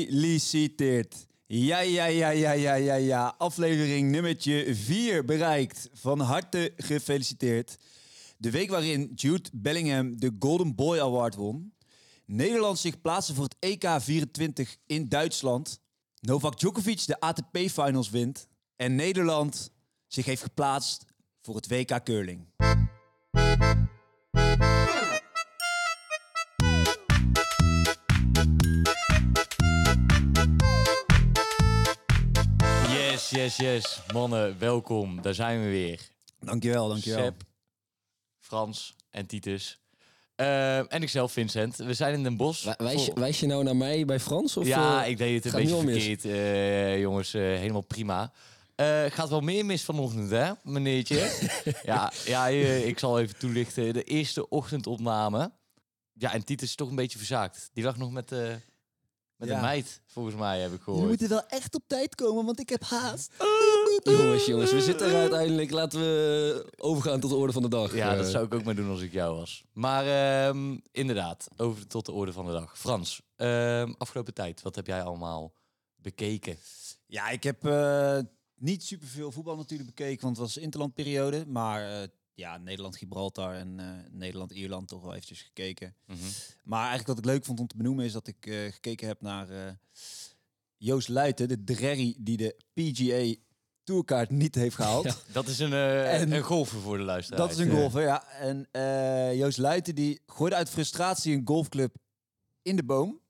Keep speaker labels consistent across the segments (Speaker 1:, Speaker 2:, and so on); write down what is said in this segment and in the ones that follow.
Speaker 1: Gefeliciteerd. Ja, ja, ja, ja, ja, ja, ja. Aflevering nummertje 4 bereikt. Van harte gefeliciteerd. De week waarin Jude Bellingham de Golden Boy Award won. Nederland zich plaatsen voor het EK 24 in Duitsland. Novak Djokovic de ATP Finals wint. En Nederland zich heeft geplaatst voor het WK Curling.
Speaker 2: Yes, yes, yes. Mannen, welkom. Daar zijn we weer.
Speaker 1: Dankjewel, dankjewel.
Speaker 2: Sepp, Frans en Titus. Eh, en ikzelf, Vincent. We zijn in Den Bosch.
Speaker 3: Wij- Wijs, je- wijs je nou naar mij bij Frans? Of,
Speaker 2: ja,
Speaker 3: eh,
Speaker 2: ik deed het
Speaker 3: gaat
Speaker 2: een beetje
Speaker 3: nu al mis?
Speaker 2: verkeerd, eh, jongens. eh, helemaal prima. Eh, gaat wel meer mis vanochtend, hè, meneertje? ja, ja eh, ik zal even toelichten. De eerste ochtendopname. Ja, en Titus is toch een beetje verzaakt. Die lag nog met, eh, met
Speaker 1: Ja.
Speaker 2: een meid, volgens mij, heb ik gehoord.
Speaker 1: wel echt op tijd komen, want ik heb haast.
Speaker 3: Jongens, jongens, we zitten er uiteindelijk. Laten we eh, overgaan tot de orde van de dag.
Speaker 2: Ja,
Speaker 3: Eh,
Speaker 2: dat zou ik ook maar doen als ik jou was. Maar ehm, inderdaad, over tot de orde van de dag. Frans, ehm, afgelopen tijd, wat heb jij allemaal bekeken?
Speaker 1: Ja, ik heb eh, niet superveel voetbal natuurlijk bekeken, want het was interlandperiode. Maar eh, ja, Nederland-Gibraltar en eh, Nederland-Ierland toch wel eventjes gekeken.
Speaker 3: Mhm.
Speaker 1: Maar eigenlijk wat ik leuk vond om te benoemen is dat ik eh, gekeken heb naar eh, Joost Luiten, de drerry die de PGA Tourkaart niet heeft gehaald.
Speaker 2: Dat is een, eh
Speaker 1: En-
Speaker 2: een golfer voor de luisteraar.
Speaker 1: Dat is een golfer, ja. En eh, Joost Luiten die gooide uit frustratie een golfclub in de boom.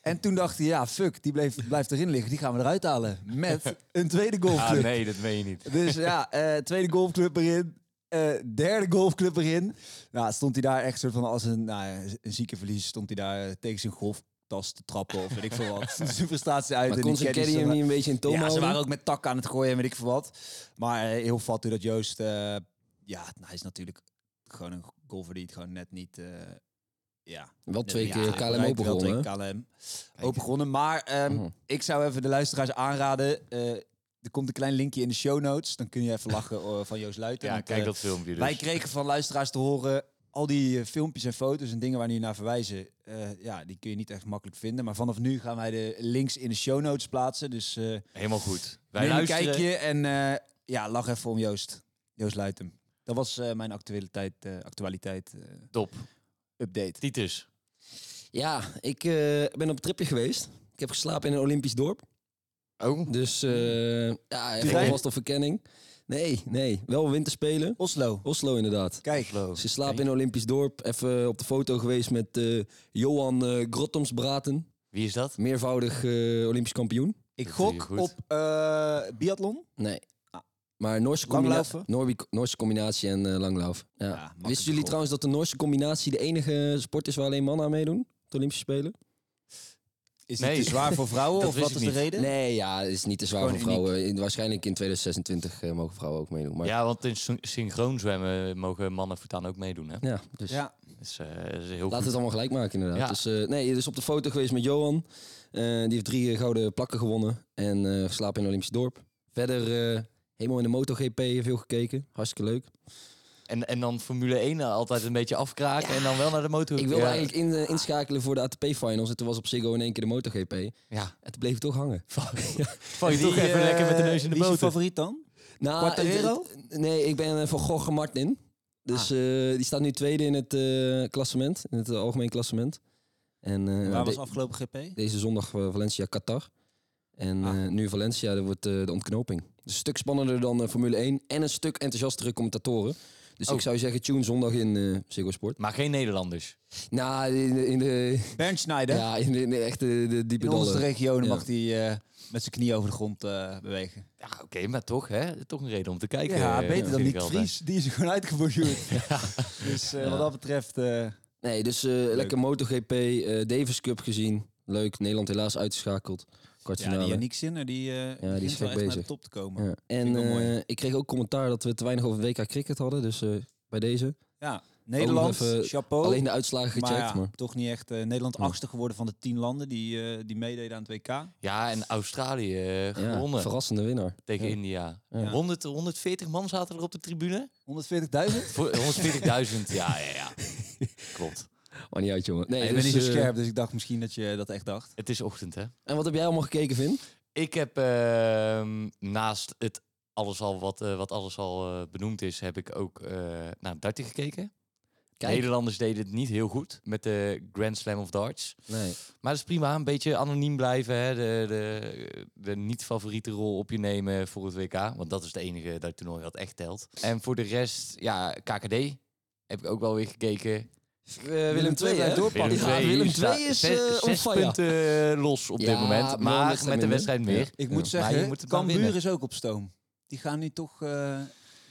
Speaker 1: En toen dacht hij, ja, fuck, die bleef, blijft erin liggen. Die gaan we eruit halen met een tweede
Speaker 2: Ah,
Speaker 1: golfclub.
Speaker 2: nee, dat meen je niet.
Speaker 1: Dus ja, eh, tweede golfclub erin. eh, derde golfclub erin. Nou, stond hij daar echt soort van als een, nou, ja, een zieke verliezer. Stond hij daar eh, tegen zijn golftas te trappen of weet ik veel wat. Zijn frustratie uit.
Speaker 3: maar
Speaker 1: en
Speaker 3: kon
Speaker 1: die
Speaker 3: zijn
Speaker 1: caddies
Speaker 3: caddy hem
Speaker 1: dan-
Speaker 3: niet een beetje in toom
Speaker 1: ja, ze
Speaker 3: houden?
Speaker 1: waren ook met takken aan het gooien en weet ik veel wat. Maar eh, heel vat hoe dat Joost... eh, ja, nou, hij is natuurlijk gewoon een golfer die het gewoon net niet... eh, ja,
Speaker 3: Wel twee
Speaker 1: ja,
Speaker 3: keer
Speaker 1: bereikt,
Speaker 3: KLM open
Speaker 1: wel twee
Speaker 3: gewonnen. hè?
Speaker 1: keer KLM open gewonnen. Maar ehm,
Speaker 3: Mhm.
Speaker 1: ik zou even de luisteraars aanraden... eh, er komt een klein linkje in de show notes. Dan kun je even lachen eh, van Joost Luiten.
Speaker 2: Ja,
Speaker 1: Want,
Speaker 2: kijk
Speaker 1: eh,
Speaker 2: dat filmpje dus.
Speaker 1: Wij kregen van luisteraars te horen... Al die eh, filmpjes en foto's en dingen waar nu naar verwijzen, eh, ja, die kun je niet echt makkelijk vinden. Maar vanaf nu gaan wij de links in de show notes plaatsen. Dus eh,
Speaker 2: Helemaal goed. Wij
Speaker 1: Neem een
Speaker 2: luisteren.
Speaker 1: kijkje en eh, ja, lach even om Joost. Joost Luitem. Dat was eh, mijn actualiteit, eh, actualiteit eh,
Speaker 2: Top.
Speaker 1: update.
Speaker 2: Titus.
Speaker 3: Ja, ik eh, ben op een tripje geweest. Ik heb geslapen in een Olympisch dorp.
Speaker 2: Oh.
Speaker 3: Dus eh ja,
Speaker 1: Turijn?
Speaker 3: even was op verkenning. Nee, nee, wel winterspelen.
Speaker 1: Oslo.
Speaker 3: Oslo inderdaad.
Speaker 1: Kijk.
Speaker 3: Ze slapen in een Olympisch dorp. Even op de foto geweest met eh, Johan eh Grottomsbraten.
Speaker 2: Wie is dat?
Speaker 3: Meervoudig eh, Olympisch kampioen.
Speaker 1: Ik
Speaker 2: Dat doe je
Speaker 1: gok
Speaker 2: goed.
Speaker 1: op eh biathlon.
Speaker 3: Nee. Maar Noorse,
Speaker 1: Langlaufen?
Speaker 3: combinatie, Noorse combinatie en eh langlauf. Ja.
Speaker 1: makkelijk
Speaker 3: Wisten jullie
Speaker 1: gehoord.
Speaker 3: trouwens dat de Noorse combinatie de enige sport is waar alleen mannen aan meedoen? op De Olympische Spelen?
Speaker 1: Is
Speaker 2: Nee.
Speaker 1: het te zwaar voor vrouwen
Speaker 2: Dat
Speaker 1: of
Speaker 2: wist
Speaker 1: wat
Speaker 2: ik
Speaker 1: is de
Speaker 2: niet.
Speaker 1: reden?
Speaker 3: Nee, ja, het is niet te zwaar
Speaker 1: Gewoon
Speaker 3: voor vrouwen. In- waarschijnlijk in 2026 eh, mogen vrouwen ook meedoen. Maar ja,
Speaker 2: Ja, want in syn- synchroon zwemmen mogen mannen voortaan ook meedoen, hè?
Speaker 3: dus
Speaker 1: Ja.
Speaker 2: Dat is, eh, dat is heel
Speaker 3: laten we het
Speaker 2: goed.
Speaker 3: allemaal gelijk maken inderdaad.
Speaker 2: Ja.
Speaker 3: Dus, eh, nee, dus op de foto geweest met Johan. Eh, die heeft drie eh, gouden plakken gewonnen en eh, geslapen in een Olympisch dorp. Verder eh, helemaal in de MotoGP veel gekeken. Hartstikke leuk.
Speaker 2: En, en dan Formule 1 altijd een beetje afkraken en dan wel naar de motor.
Speaker 3: Ik wilde
Speaker 2: Ja.
Speaker 3: eigenlijk in, eh, inschakelen voor de ATP-finals. En toen was op Ziggo in één keer de MotoGP.
Speaker 2: Ja.
Speaker 3: En toen bleef het toch hangen.
Speaker 2: Val Oh, je toch even
Speaker 1: eh,
Speaker 2: lekker met de neus in de
Speaker 1: wie is je
Speaker 2: boter.
Speaker 1: favoriet dan?
Speaker 3: Nou,
Speaker 1: Quartararo?
Speaker 3: het- het- nee, ik ben eh, van Gorge Martin. Dus eh, die staat nu tweede in het eh, klassement. In het eh, algemeen klassement. En eh,
Speaker 1: Waar was
Speaker 3: de-
Speaker 1: afgelopen GP?
Speaker 3: deze zondag eh, Valencia-Qatar. En
Speaker 1: Ah.
Speaker 3: eh, nu Valencia, dat wordt eh, de ontknoping. Dus een stuk spannender dan eh, Formule 1. En een stuk enthousiastere commentatoren. Dus
Speaker 2: Oh.
Speaker 3: ik zou zeggen, tune zondag in eh Ziggo Sport.
Speaker 2: Maar geen Nederlanders.
Speaker 3: Nou, in de, in de,
Speaker 1: Bernd Schneider.
Speaker 3: ja, in de, in de echte de diepe
Speaker 1: in onze
Speaker 3: dallen.
Speaker 1: regionen
Speaker 3: Ja.
Speaker 1: mag hij eh, met zijn knie over de grond eh, bewegen.
Speaker 2: Ja, oké, maar toch, hè? Toch een reden om te kijken.
Speaker 1: ja,
Speaker 2: eh,
Speaker 1: beter dan
Speaker 2: vind ik
Speaker 1: Nick
Speaker 2: altijd.
Speaker 1: Vries. Die is er gewoon uitgebonjourd. Dus eh, wat dat betreft... eh,
Speaker 3: Nee, dus eh, lekker MotoGP, eh, Davis Cup gezien. Leuk, Nederland helaas uitgeschakeld.
Speaker 1: Ja, die
Speaker 3: Kwartfinale.
Speaker 1: Yannick Sinner, die, eh
Speaker 3: die
Speaker 1: begint
Speaker 3: is
Speaker 1: wel echt naar
Speaker 3: gek
Speaker 1: de
Speaker 3: bezig.
Speaker 1: top te komen.
Speaker 3: Ja. En
Speaker 1: Vind ik wel mooi.
Speaker 3: eh, ik kreeg ook commentaar dat we te weinig over WK cricket hadden. Dus eh, bij deze.
Speaker 1: Ja, Nederland,
Speaker 3: even
Speaker 1: chapeau.
Speaker 3: Alleen de uitslagen gecheckt.
Speaker 1: Oh. maar
Speaker 3: Maar
Speaker 1: ja, toch niet echt. eh, Nederland
Speaker 3: Ja.
Speaker 1: achtste geworden van de tien landen die, eh, die meededen aan het WK.
Speaker 2: Ja, en Australië eh,
Speaker 3: ja,
Speaker 2: gewonnen
Speaker 3: verrassende winnaar.
Speaker 2: tegen
Speaker 3: Ja.
Speaker 2: India.
Speaker 3: Ja.
Speaker 2: 100, 140 man zaten er op de tribune.
Speaker 1: 140.000?
Speaker 2: Voor 140.000. ja, ja, ja. Klopt.
Speaker 3: Maar niet uit, jongen. Nee,
Speaker 1: ik ben
Speaker 3: dus,
Speaker 1: niet zo
Speaker 3: eh,
Speaker 1: scherp, dus ik dacht misschien dat je dat echt dacht.
Speaker 2: Het is ochtend, hè?
Speaker 3: En wat heb jij allemaal gekeken, Vin?
Speaker 2: Ik heb ehm, naast het alles al wat, eh, wat alles al eh, benoemd is, heb ik ook eh, naar darten gekeken.
Speaker 3: Kijk.
Speaker 2: Nederlanders deden het niet heel goed met de Grand Slam of Darts.
Speaker 3: Nee.
Speaker 2: Maar dat is prima, een beetje anoniem blijven. Hè? De, de, de niet-favoriete rol op je nemen voor het WK. Want dat is de enige dat toernooi dat echt telt. En voor de rest, ja, KKD heb ik ook wel weer gekeken.
Speaker 3: Willem II,
Speaker 1: II
Speaker 3: hè?
Speaker 1: blijft doorpakken.
Speaker 3: Willem
Speaker 1: Ja,
Speaker 3: II Willem
Speaker 2: staat
Speaker 3: II is
Speaker 2: nou, zes,
Speaker 3: eh, on
Speaker 2: zes
Speaker 3: fire.
Speaker 2: punten eh, los op
Speaker 3: Ja,
Speaker 2: dit moment.
Speaker 3: wel
Speaker 2: Maar
Speaker 3: wedstrijd
Speaker 2: met de
Speaker 3: minder.
Speaker 2: wedstrijd meer.
Speaker 3: Ja.
Speaker 1: Ik moet
Speaker 3: Ja.
Speaker 2: Maar
Speaker 1: zeggen,
Speaker 2: je moet het maar
Speaker 1: Cambuur
Speaker 2: winnen.
Speaker 1: is ook op stoom. Die gaan nu toch, eh,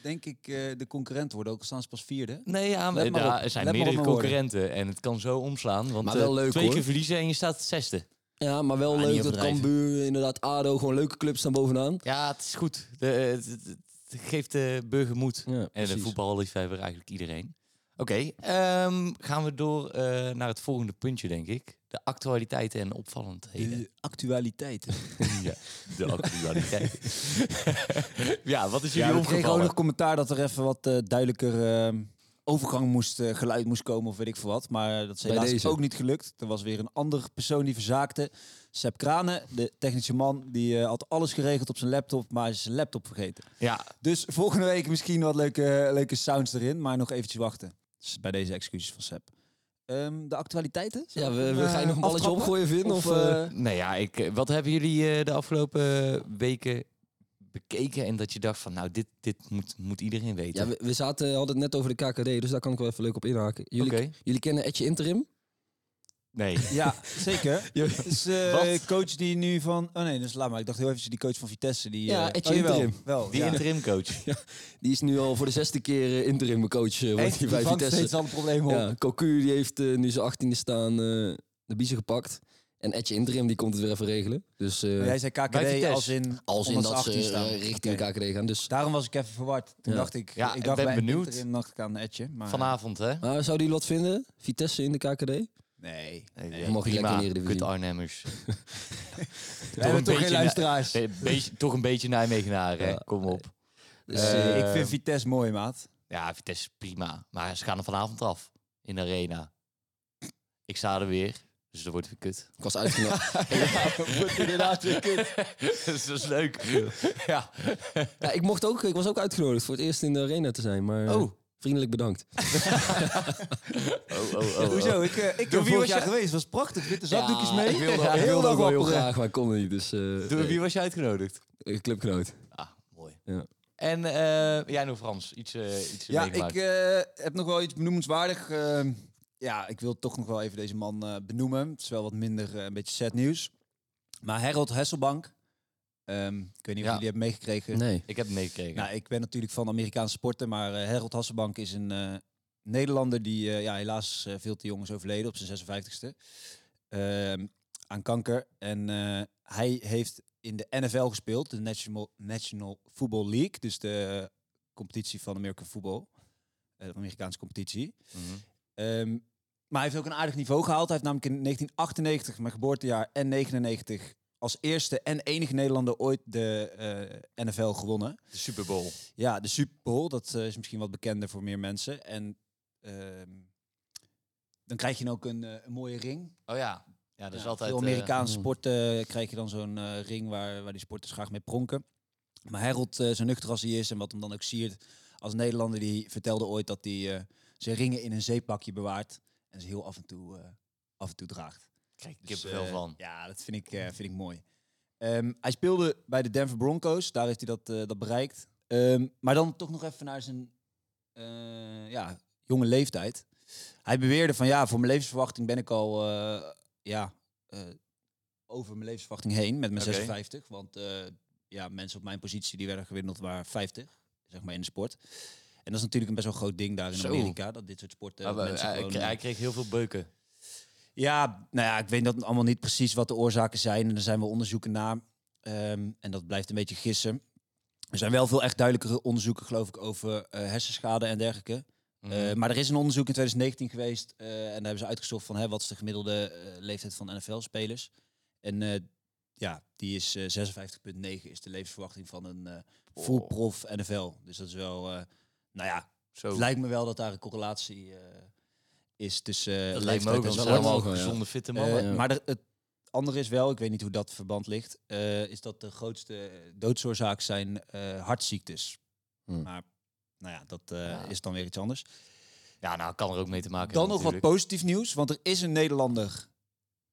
Speaker 1: denk ik, eh, de concurrent worden. Ook al staan ze pas vierde.
Speaker 2: Nee, ja, maar
Speaker 1: Let maar
Speaker 2: daar
Speaker 1: op. Let
Speaker 2: zijn
Speaker 1: maar op mijn
Speaker 2: meerdere
Speaker 1: woorden.
Speaker 2: concurrenten. En het kan zo omslaan. Want
Speaker 3: Maar
Speaker 2: eh,
Speaker 3: wel leuk,
Speaker 2: twee
Speaker 3: hoor.
Speaker 2: keer verliezen en je staat zesde.
Speaker 3: Ja, maar wel
Speaker 2: Ah, niet
Speaker 3: leuk dat
Speaker 2: overdrijven.
Speaker 3: Cambuur, inderdaad, ADO, gewoon leuke clubs staan bovenaan.
Speaker 2: Ja, het is goed. De, het, het- het geeft de burger moed.
Speaker 3: Ja,
Speaker 2: En
Speaker 3: precies.
Speaker 2: een voetballiefhebber eigenlijk iedereen. Oké, ehm, gaan we door eh, naar het volgende puntje, denk ik. De actualiteiten en opvallendheden.
Speaker 1: De actualiteit.
Speaker 2: ja, de actualiteiten. ja, wat is jullie
Speaker 1: Ja, we kregen ook
Speaker 2: opgevallen?
Speaker 1: nog commentaar dat er even wat eh, duidelijker eh, overgang moest, eh, geluid moest komen of weet ik veel wat. Maar eh, dat is
Speaker 3: Bij
Speaker 1: helaas
Speaker 3: deze.
Speaker 1: ook niet gelukt. Er was weer een andere persoon die verzaakte. Sepp Kranen, de technische man, die eh, had alles geregeld op zijn laptop, maar hij is zijn laptop vergeten.
Speaker 2: Ja,
Speaker 1: Dus volgende week misschien wat leuke, leuke sounds erin, maar nog eventjes wachten. Dus bij deze excuses van Sepp. Ehm, de actualiteiten?
Speaker 3: Ja, we, we gaan je nog een balletje
Speaker 1: Eh, Aftrappen?
Speaker 3: opgooien, Vin? Of,
Speaker 1: Of,
Speaker 3: eh,
Speaker 1: eh,
Speaker 2: nou ja, ik, eh, wat hebben jullie eh, de afgelopen eh, weken bekeken en dat je dacht van, nou, dit, dit moet, moet iedereen weten.
Speaker 3: ja, we, we zaten, hadden het net over de KKD, dus daar kan ik wel even leuk op inhaken. Jullie,
Speaker 2: Oké.
Speaker 3: jullie kennen Etje Interim?
Speaker 2: Nee.
Speaker 1: Ja, zeker. Het is eh,
Speaker 2: Wat?
Speaker 1: coach die nu van... Oh nee, dus laat maar. Ik dacht heel even die coach van Vitesse. Die,
Speaker 3: Ja,
Speaker 1: eh,
Speaker 3: Etje
Speaker 1: oh, jawel,
Speaker 3: Interim.
Speaker 1: Wel,
Speaker 2: Die
Speaker 1: ja.
Speaker 2: interim coach.
Speaker 3: Die is nu al voor de zesde keer eh, interim coach eh, wordt
Speaker 1: Echt,
Speaker 3: hij
Speaker 1: die
Speaker 3: bij
Speaker 1: vangt steeds
Speaker 3: Vitesse.
Speaker 1: alle problemen op.
Speaker 3: Ja, Cocu die heeft eh, nu zijn achttiende staan eh, de biezen gepakt. En Etje Interim die komt het weer even regelen. Dus eh,
Speaker 1: Maar jij zei
Speaker 2: Bij
Speaker 1: KKD
Speaker 2: Vitesse.
Speaker 1: als in...
Speaker 3: als in dat ze
Speaker 1: 118 staan.
Speaker 3: eh, richting
Speaker 1: Oké.
Speaker 3: de KKD gaan. Dus
Speaker 1: Daarom was ik even verward. Toen
Speaker 3: Ja.
Speaker 1: dacht ik...
Speaker 2: Ja,
Speaker 1: ik
Speaker 2: ik
Speaker 1: dacht
Speaker 2: ben
Speaker 1: bij
Speaker 2: benieuwd.
Speaker 1: Interim dacht ik aan Etje. Maar
Speaker 2: Vanavond, hè?
Speaker 3: Maar zou die wat vinden? Vitesse in de KKD?
Speaker 1: Nee.
Speaker 2: Ja,
Speaker 3: mag je
Speaker 2: prima.
Speaker 3: lekker in de Eredivisie.
Speaker 2: Kut Arnhemmers.
Speaker 1: We hebben toch geen
Speaker 2: beetje-
Speaker 1: luisteraars.
Speaker 2: Be- beetje- toch een beetje Nijmegenaar, hè?
Speaker 3: Ja.
Speaker 2: Kom op.
Speaker 3: Dus,
Speaker 2: Eh,
Speaker 1: ik vind Vitesse mooi, maat.
Speaker 2: Ja, Vitesse is prima. Maar ze gaan er vanavond af. In de arena. Ik sta er weer. Dus dat wordt weer kut.
Speaker 3: ik was uitgenodigd.
Speaker 1: wordt inderdaad weer kut.
Speaker 2: dus dat is leuk. ja.
Speaker 3: ja, ik, mocht ook, ik was ook uitgenodigd voor het eerst in de arena te zijn. Maar eh,
Speaker 2: Oh.
Speaker 3: vriendelijk bedankt.
Speaker 2: Oh, oh, oh, oh.
Speaker 1: Hoezo? Ik, eh, ik ben
Speaker 2: Door wie was
Speaker 1: vorig jaar
Speaker 2: je-
Speaker 1: geweest. was prachtig. Witte zakdoekjes mee.
Speaker 3: Ah, Ik wilde, ik
Speaker 1: Ah, Heel
Speaker 3: wilde ook
Speaker 1: lang
Speaker 3: wel heel
Speaker 1: wapperen.
Speaker 3: graag, maar ik kon niet. Dus eh,
Speaker 2: Door
Speaker 3: eh,
Speaker 2: wie was je uitgenodigd?
Speaker 3: eh, clubgenoot.
Speaker 2: Ah, mooi.
Speaker 3: Ja.
Speaker 2: En eh, jij nog Frans? Iets, eh iets
Speaker 1: Ja,
Speaker 2: meegemaakt?
Speaker 1: ik eh, heb nog wel iets benoemenswaardig. Ehm, ja, ik wil toch nog wel even deze man eh, benoemen. Het is wel wat minder eh, een beetje sad nieuws. Maar Harold Hesselbank. ehm, ik weet niet of
Speaker 2: Ja.
Speaker 1: jullie hebben meegekregen.
Speaker 3: Nee.
Speaker 2: Ik heb het meegekregen.
Speaker 1: Nou, ik ben natuurlijk van Amerikaanse sporten, maar eh, Harold Hasselbank is een eh, Nederlander die eh, ja, helaas eh, veel te jong is overleden op zijn 56ste. ehm, aan kanker. En eh, hij heeft in de NFL gespeeld, de National, National Football League, dus de competitie van American Football, eh, de Amerikaanse competitie.
Speaker 2: Mhm.
Speaker 1: Ehm, maar hij heeft ook een aardig niveau gehaald. Hij heeft namelijk in 1998, mijn geboortejaar, en 99 als eerste en enige Nederlander ooit de eh, NFL gewonnen.
Speaker 2: De Super Bowl.
Speaker 1: Ja, de Super Bowl, dat eh, is misschien wat bekender voor meer mensen. En ehm, dan krijg je dan ook een, eh, een mooie ring.
Speaker 2: Oh ja. Ja, dat is
Speaker 1: Ja,
Speaker 2: altijd...
Speaker 1: Veel
Speaker 2: eh,
Speaker 1: Amerikaanse
Speaker 3: Mm.
Speaker 1: sporten krijg je dan zo'n eh, ring waar, waar die sporters graag mee pronken. Maar Harold, eh, zo nuchter als hij is en wat hem dan ook siert als Nederlander, die vertelde ooit dat hij eh, zijn ringen in een zeepakje bewaart en ze heel af en toe, eh, af en toe draagt.
Speaker 2: krijg ik
Speaker 1: Dus,
Speaker 2: heb er veel
Speaker 1: eh,
Speaker 2: van.
Speaker 1: Ja, dat vind ik, eh, vind ik mooi. Ehm, hij speelde bij de Denver Broncos. Daar heeft hij dat, eh, dat bereikt. Ehm, maar dan toch nog even naar zijn eh, ja, jonge leeftijd. Hij beweerde van ja, voor mijn levensverwachting ben ik al eh, ja, eh, over mijn levensverwachting heen met mijn
Speaker 2: Oké.
Speaker 1: 56. Want eh, ja, mensen op mijn positie die werden gewindeld waren 50, zeg maar in de sport. En dat is natuurlijk een best wel groot ding daar in
Speaker 2: Zo.
Speaker 1: Amerika. Dat dit soort sporten.
Speaker 2: Maar, eh,
Speaker 1: mensen
Speaker 2: hij,
Speaker 1: gewoon,
Speaker 2: kreeg-
Speaker 1: eh,
Speaker 2: hij kreeg heel veel beuken.
Speaker 1: ja, nou ja, ik weet dat allemaal niet precies wat de oorzaken zijn. En daar zijn wel onderzoeken naar. Ehm, en dat blijft een beetje gissen. Er zijn wel veel echt duidelijkere onderzoeken, geloof ik, over eh, hersenschade en dergelijke.
Speaker 2: Mhm.
Speaker 1: Eh, maar er is een onderzoek in 2019 geweest. eh, en daar hebben ze uitgezocht van hè, wat is de gemiddelde eh, leeftijd van NFL-spelers. En eh, ja, die is eh, 56,9 is de levensverwachting van een eh full
Speaker 2: Oh.
Speaker 1: prof NFL. Dus dat is wel, eh, nou ja,
Speaker 2: Zo.
Speaker 1: het lijkt me wel dat daar een correlatie eh, is tussen
Speaker 2: Dat
Speaker 1: eh,
Speaker 2: lijkt me
Speaker 1: leeftijd
Speaker 2: ook,
Speaker 1: en
Speaker 2: want ze
Speaker 1: zo.
Speaker 2: zijn allemaal
Speaker 3: Ja.
Speaker 2: gezonde, fitte
Speaker 1: Eh,
Speaker 2: mannen.
Speaker 3: ja.
Speaker 1: Maar er- het andere is wel, ik weet niet hoe dat verband ligt, eh, is dat de grootste doodsoorzaak zijn eh, hartziektes.
Speaker 2: Hmm.
Speaker 3: Hm.
Speaker 1: Maar nou ja, dat eh,
Speaker 2: Ja.
Speaker 1: is dan weer iets anders.
Speaker 2: ja, nou, kan er ook mee te maken
Speaker 1: Dan nog wat
Speaker 2: natuurlijk.
Speaker 1: positief nieuws, want er is een Nederlander.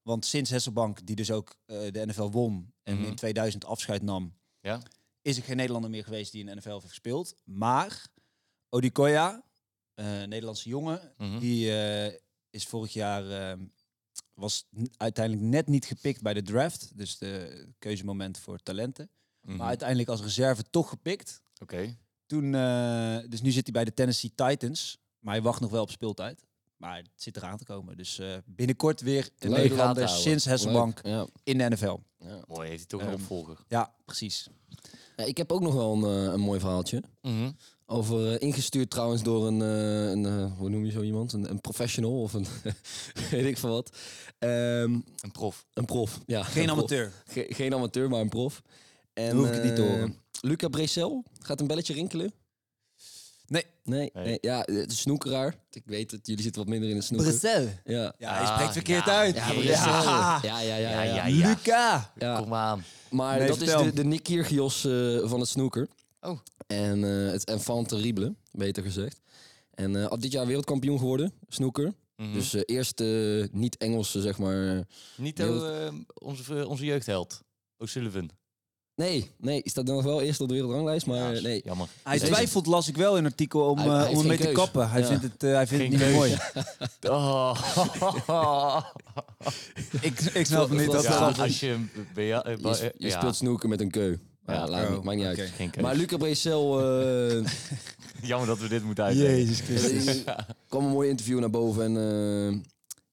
Speaker 1: Want sinds Hesselbank, die dus ook eh, de NFL won en
Speaker 2: Mhm.
Speaker 1: in 2000 afscheid nam,
Speaker 2: Ja.
Speaker 1: is er geen Nederlander meer geweest die in de NFL heeft gespeeld. Maar Odikoya, eh Nederlandse jongen,
Speaker 3: Hm?
Speaker 2: Mhm.
Speaker 1: die eh, is vorig jaar eh, was n- uiteindelijk net niet gepikt bij de draft, dus de keuzemoment voor talenten.
Speaker 2: Mhm.
Speaker 1: Maar uiteindelijk als reserve toch gepikt.
Speaker 2: Oké.
Speaker 1: Toen, eh, dus nu zit hij bij de Tennessee Titans, maar hij wacht nog wel op speeltijd. Maar het zit eraan te komen. Dus eh, binnenkort weer een
Speaker 3: Leuk.
Speaker 1: Nederlander
Speaker 2: Gaten houden.
Speaker 1: sinds Hesselbank
Speaker 3: Leuk. Ja.
Speaker 1: in de NFL.
Speaker 3: Ja.
Speaker 2: Mooi, heeft hij toch een
Speaker 1: Ehm,
Speaker 2: opvolger.
Speaker 1: Ja, precies.
Speaker 3: Ja, ik heb ook nog wel een, eh, een mooi verhaaltje.
Speaker 2: Mhm.
Speaker 3: Over, eh, ingestuurd trouwens door een, eh, een eh, hoe noem je zo iemand? Een, een professional of een, weet ik veel wat. Ehm,
Speaker 2: Een prof.
Speaker 3: een prof, ja.
Speaker 1: Geen
Speaker 3: een prof.
Speaker 1: amateur.
Speaker 3: Ge- geen amateur, maar een prof. En,
Speaker 1: hoef ik het niet te
Speaker 3: eh,
Speaker 1: horen.
Speaker 3: Luca Brecel, gaat een belletje rinkelen?
Speaker 1: Nee.
Speaker 3: Nee,
Speaker 2: Nee.
Speaker 3: nee, ja, eh, het is snoekeraar. Ik weet het, jullie zitten wat minder in het snoeken.
Speaker 1: Bressel.
Speaker 3: ja.
Speaker 1: Ja, hij spreekt
Speaker 2: Ah,
Speaker 1: verkeerd
Speaker 2: ja.
Speaker 1: uit.
Speaker 2: Ja,
Speaker 3: Ja,
Speaker 2: Brecel.
Speaker 1: Ja.
Speaker 3: Ja, ja, ja,
Speaker 2: Ja,
Speaker 3: ja,
Speaker 2: ja,
Speaker 3: ja.
Speaker 2: ja.
Speaker 1: Luca.
Speaker 3: Ja.
Speaker 2: Kom aan.
Speaker 3: Maar
Speaker 1: Nee,
Speaker 3: dat
Speaker 1: vertel.
Speaker 3: is de, de Nick Kyrgios eh, van het snoeker.
Speaker 2: Oh.
Speaker 3: En eh, het enfant terrible, beter gezegd. En eh, al dit jaar wereldkampioen geworden, snoeker.
Speaker 2: Mhm.
Speaker 3: Dus eh, eerst eh, niet-Engelse, zeg maar.
Speaker 2: Niet
Speaker 3: Heel-
Speaker 2: eh, onze, onze jeugdheld. O'Sullivan.
Speaker 3: Nee, nee, staat dan nog wel eerst op de wereldranglijst, maar
Speaker 2: Ja,
Speaker 3: eh, nee.
Speaker 2: Jammer.
Speaker 1: Hij
Speaker 3: Deze-
Speaker 1: twijfelt, las ik wel in een artikel, om,
Speaker 3: Hij-
Speaker 1: eh,
Speaker 3: hij heeft
Speaker 1: om hem mee
Speaker 3: geen
Speaker 1: te
Speaker 3: keus.
Speaker 1: kappen. Hij
Speaker 3: Ja.
Speaker 1: vindt het, eh, hij vindt het
Speaker 2: Geen
Speaker 1: niet meer mooi.
Speaker 2: Oh.
Speaker 1: ik, ik snap het niet. Dat
Speaker 3: Ja,
Speaker 2: ja,
Speaker 1: dat-
Speaker 2: als je... hem be- ja, eh,
Speaker 3: Je,
Speaker 2: ba-
Speaker 3: sp-
Speaker 2: eh,
Speaker 3: je
Speaker 2: ja,
Speaker 3: speelt snoeken met een keu. Ja,
Speaker 2: Ja,
Speaker 3: laat, niet, maakt niet uit.
Speaker 1: Oh, oké.
Speaker 2: geen keus.
Speaker 3: Maar Luca Brecel eh,
Speaker 2: Jammer dat we dit moeten uitleggen.
Speaker 1: Jezus Christus.
Speaker 3: er kwam een mooi interview naar boven. En eh,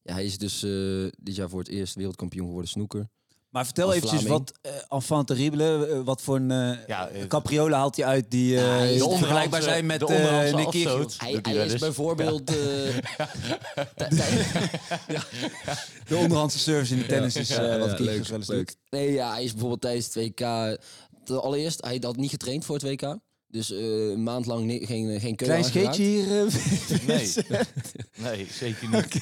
Speaker 3: ja, hij is dus eh, dit jaar voor het eerst wereldkampioen geworden snoeker.
Speaker 1: Maar vertel
Speaker 3: Als
Speaker 1: eventjes
Speaker 3: Vlaming.
Speaker 1: wat eh enfant terrible, eh, wat voor een eh
Speaker 2: Ja, eh,
Speaker 1: capriolen haalt hij uit die eh,
Speaker 3: Ja, hij is
Speaker 1: die
Speaker 3: de
Speaker 1: vergelijkbaar zijn met
Speaker 2: de
Speaker 1: eh,
Speaker 2: onderhandse
Speaker 1: Nick Kyrgios?
Speaker 2: afstoot.
Speaker 3: Hij,
Speaker 2: Doet
Speaker 3: hij
Speaker 2: wel
Speaker 3: is
Speaker 2: eens.
Speaker 3: bijvoorbeeld... eh,
Speaker 1: De onderhandse service in de tennis is eh,
Speaker 3: Ja,
Speaker 1: wat
Speaker 3: ja,
Speaker 1: Kyrgios
Speaker 3: leuk,
Speaker 1: wel eens
Speaker 3: leuk.
Speaker 1: doet.
Speaker 3: Nee, ja, hij is bijvoorbeeld tijdens het WK... Ten allereerst, hij had niet getraind voor het WK. Dus eh, een maand lang ni- geen, geen keu
Speaker 1: Klein
Speaker 3: aangeraakt.
Speaker 1: scheetje hier. eh,
Speaker 2: Nee. nee, zeker niet.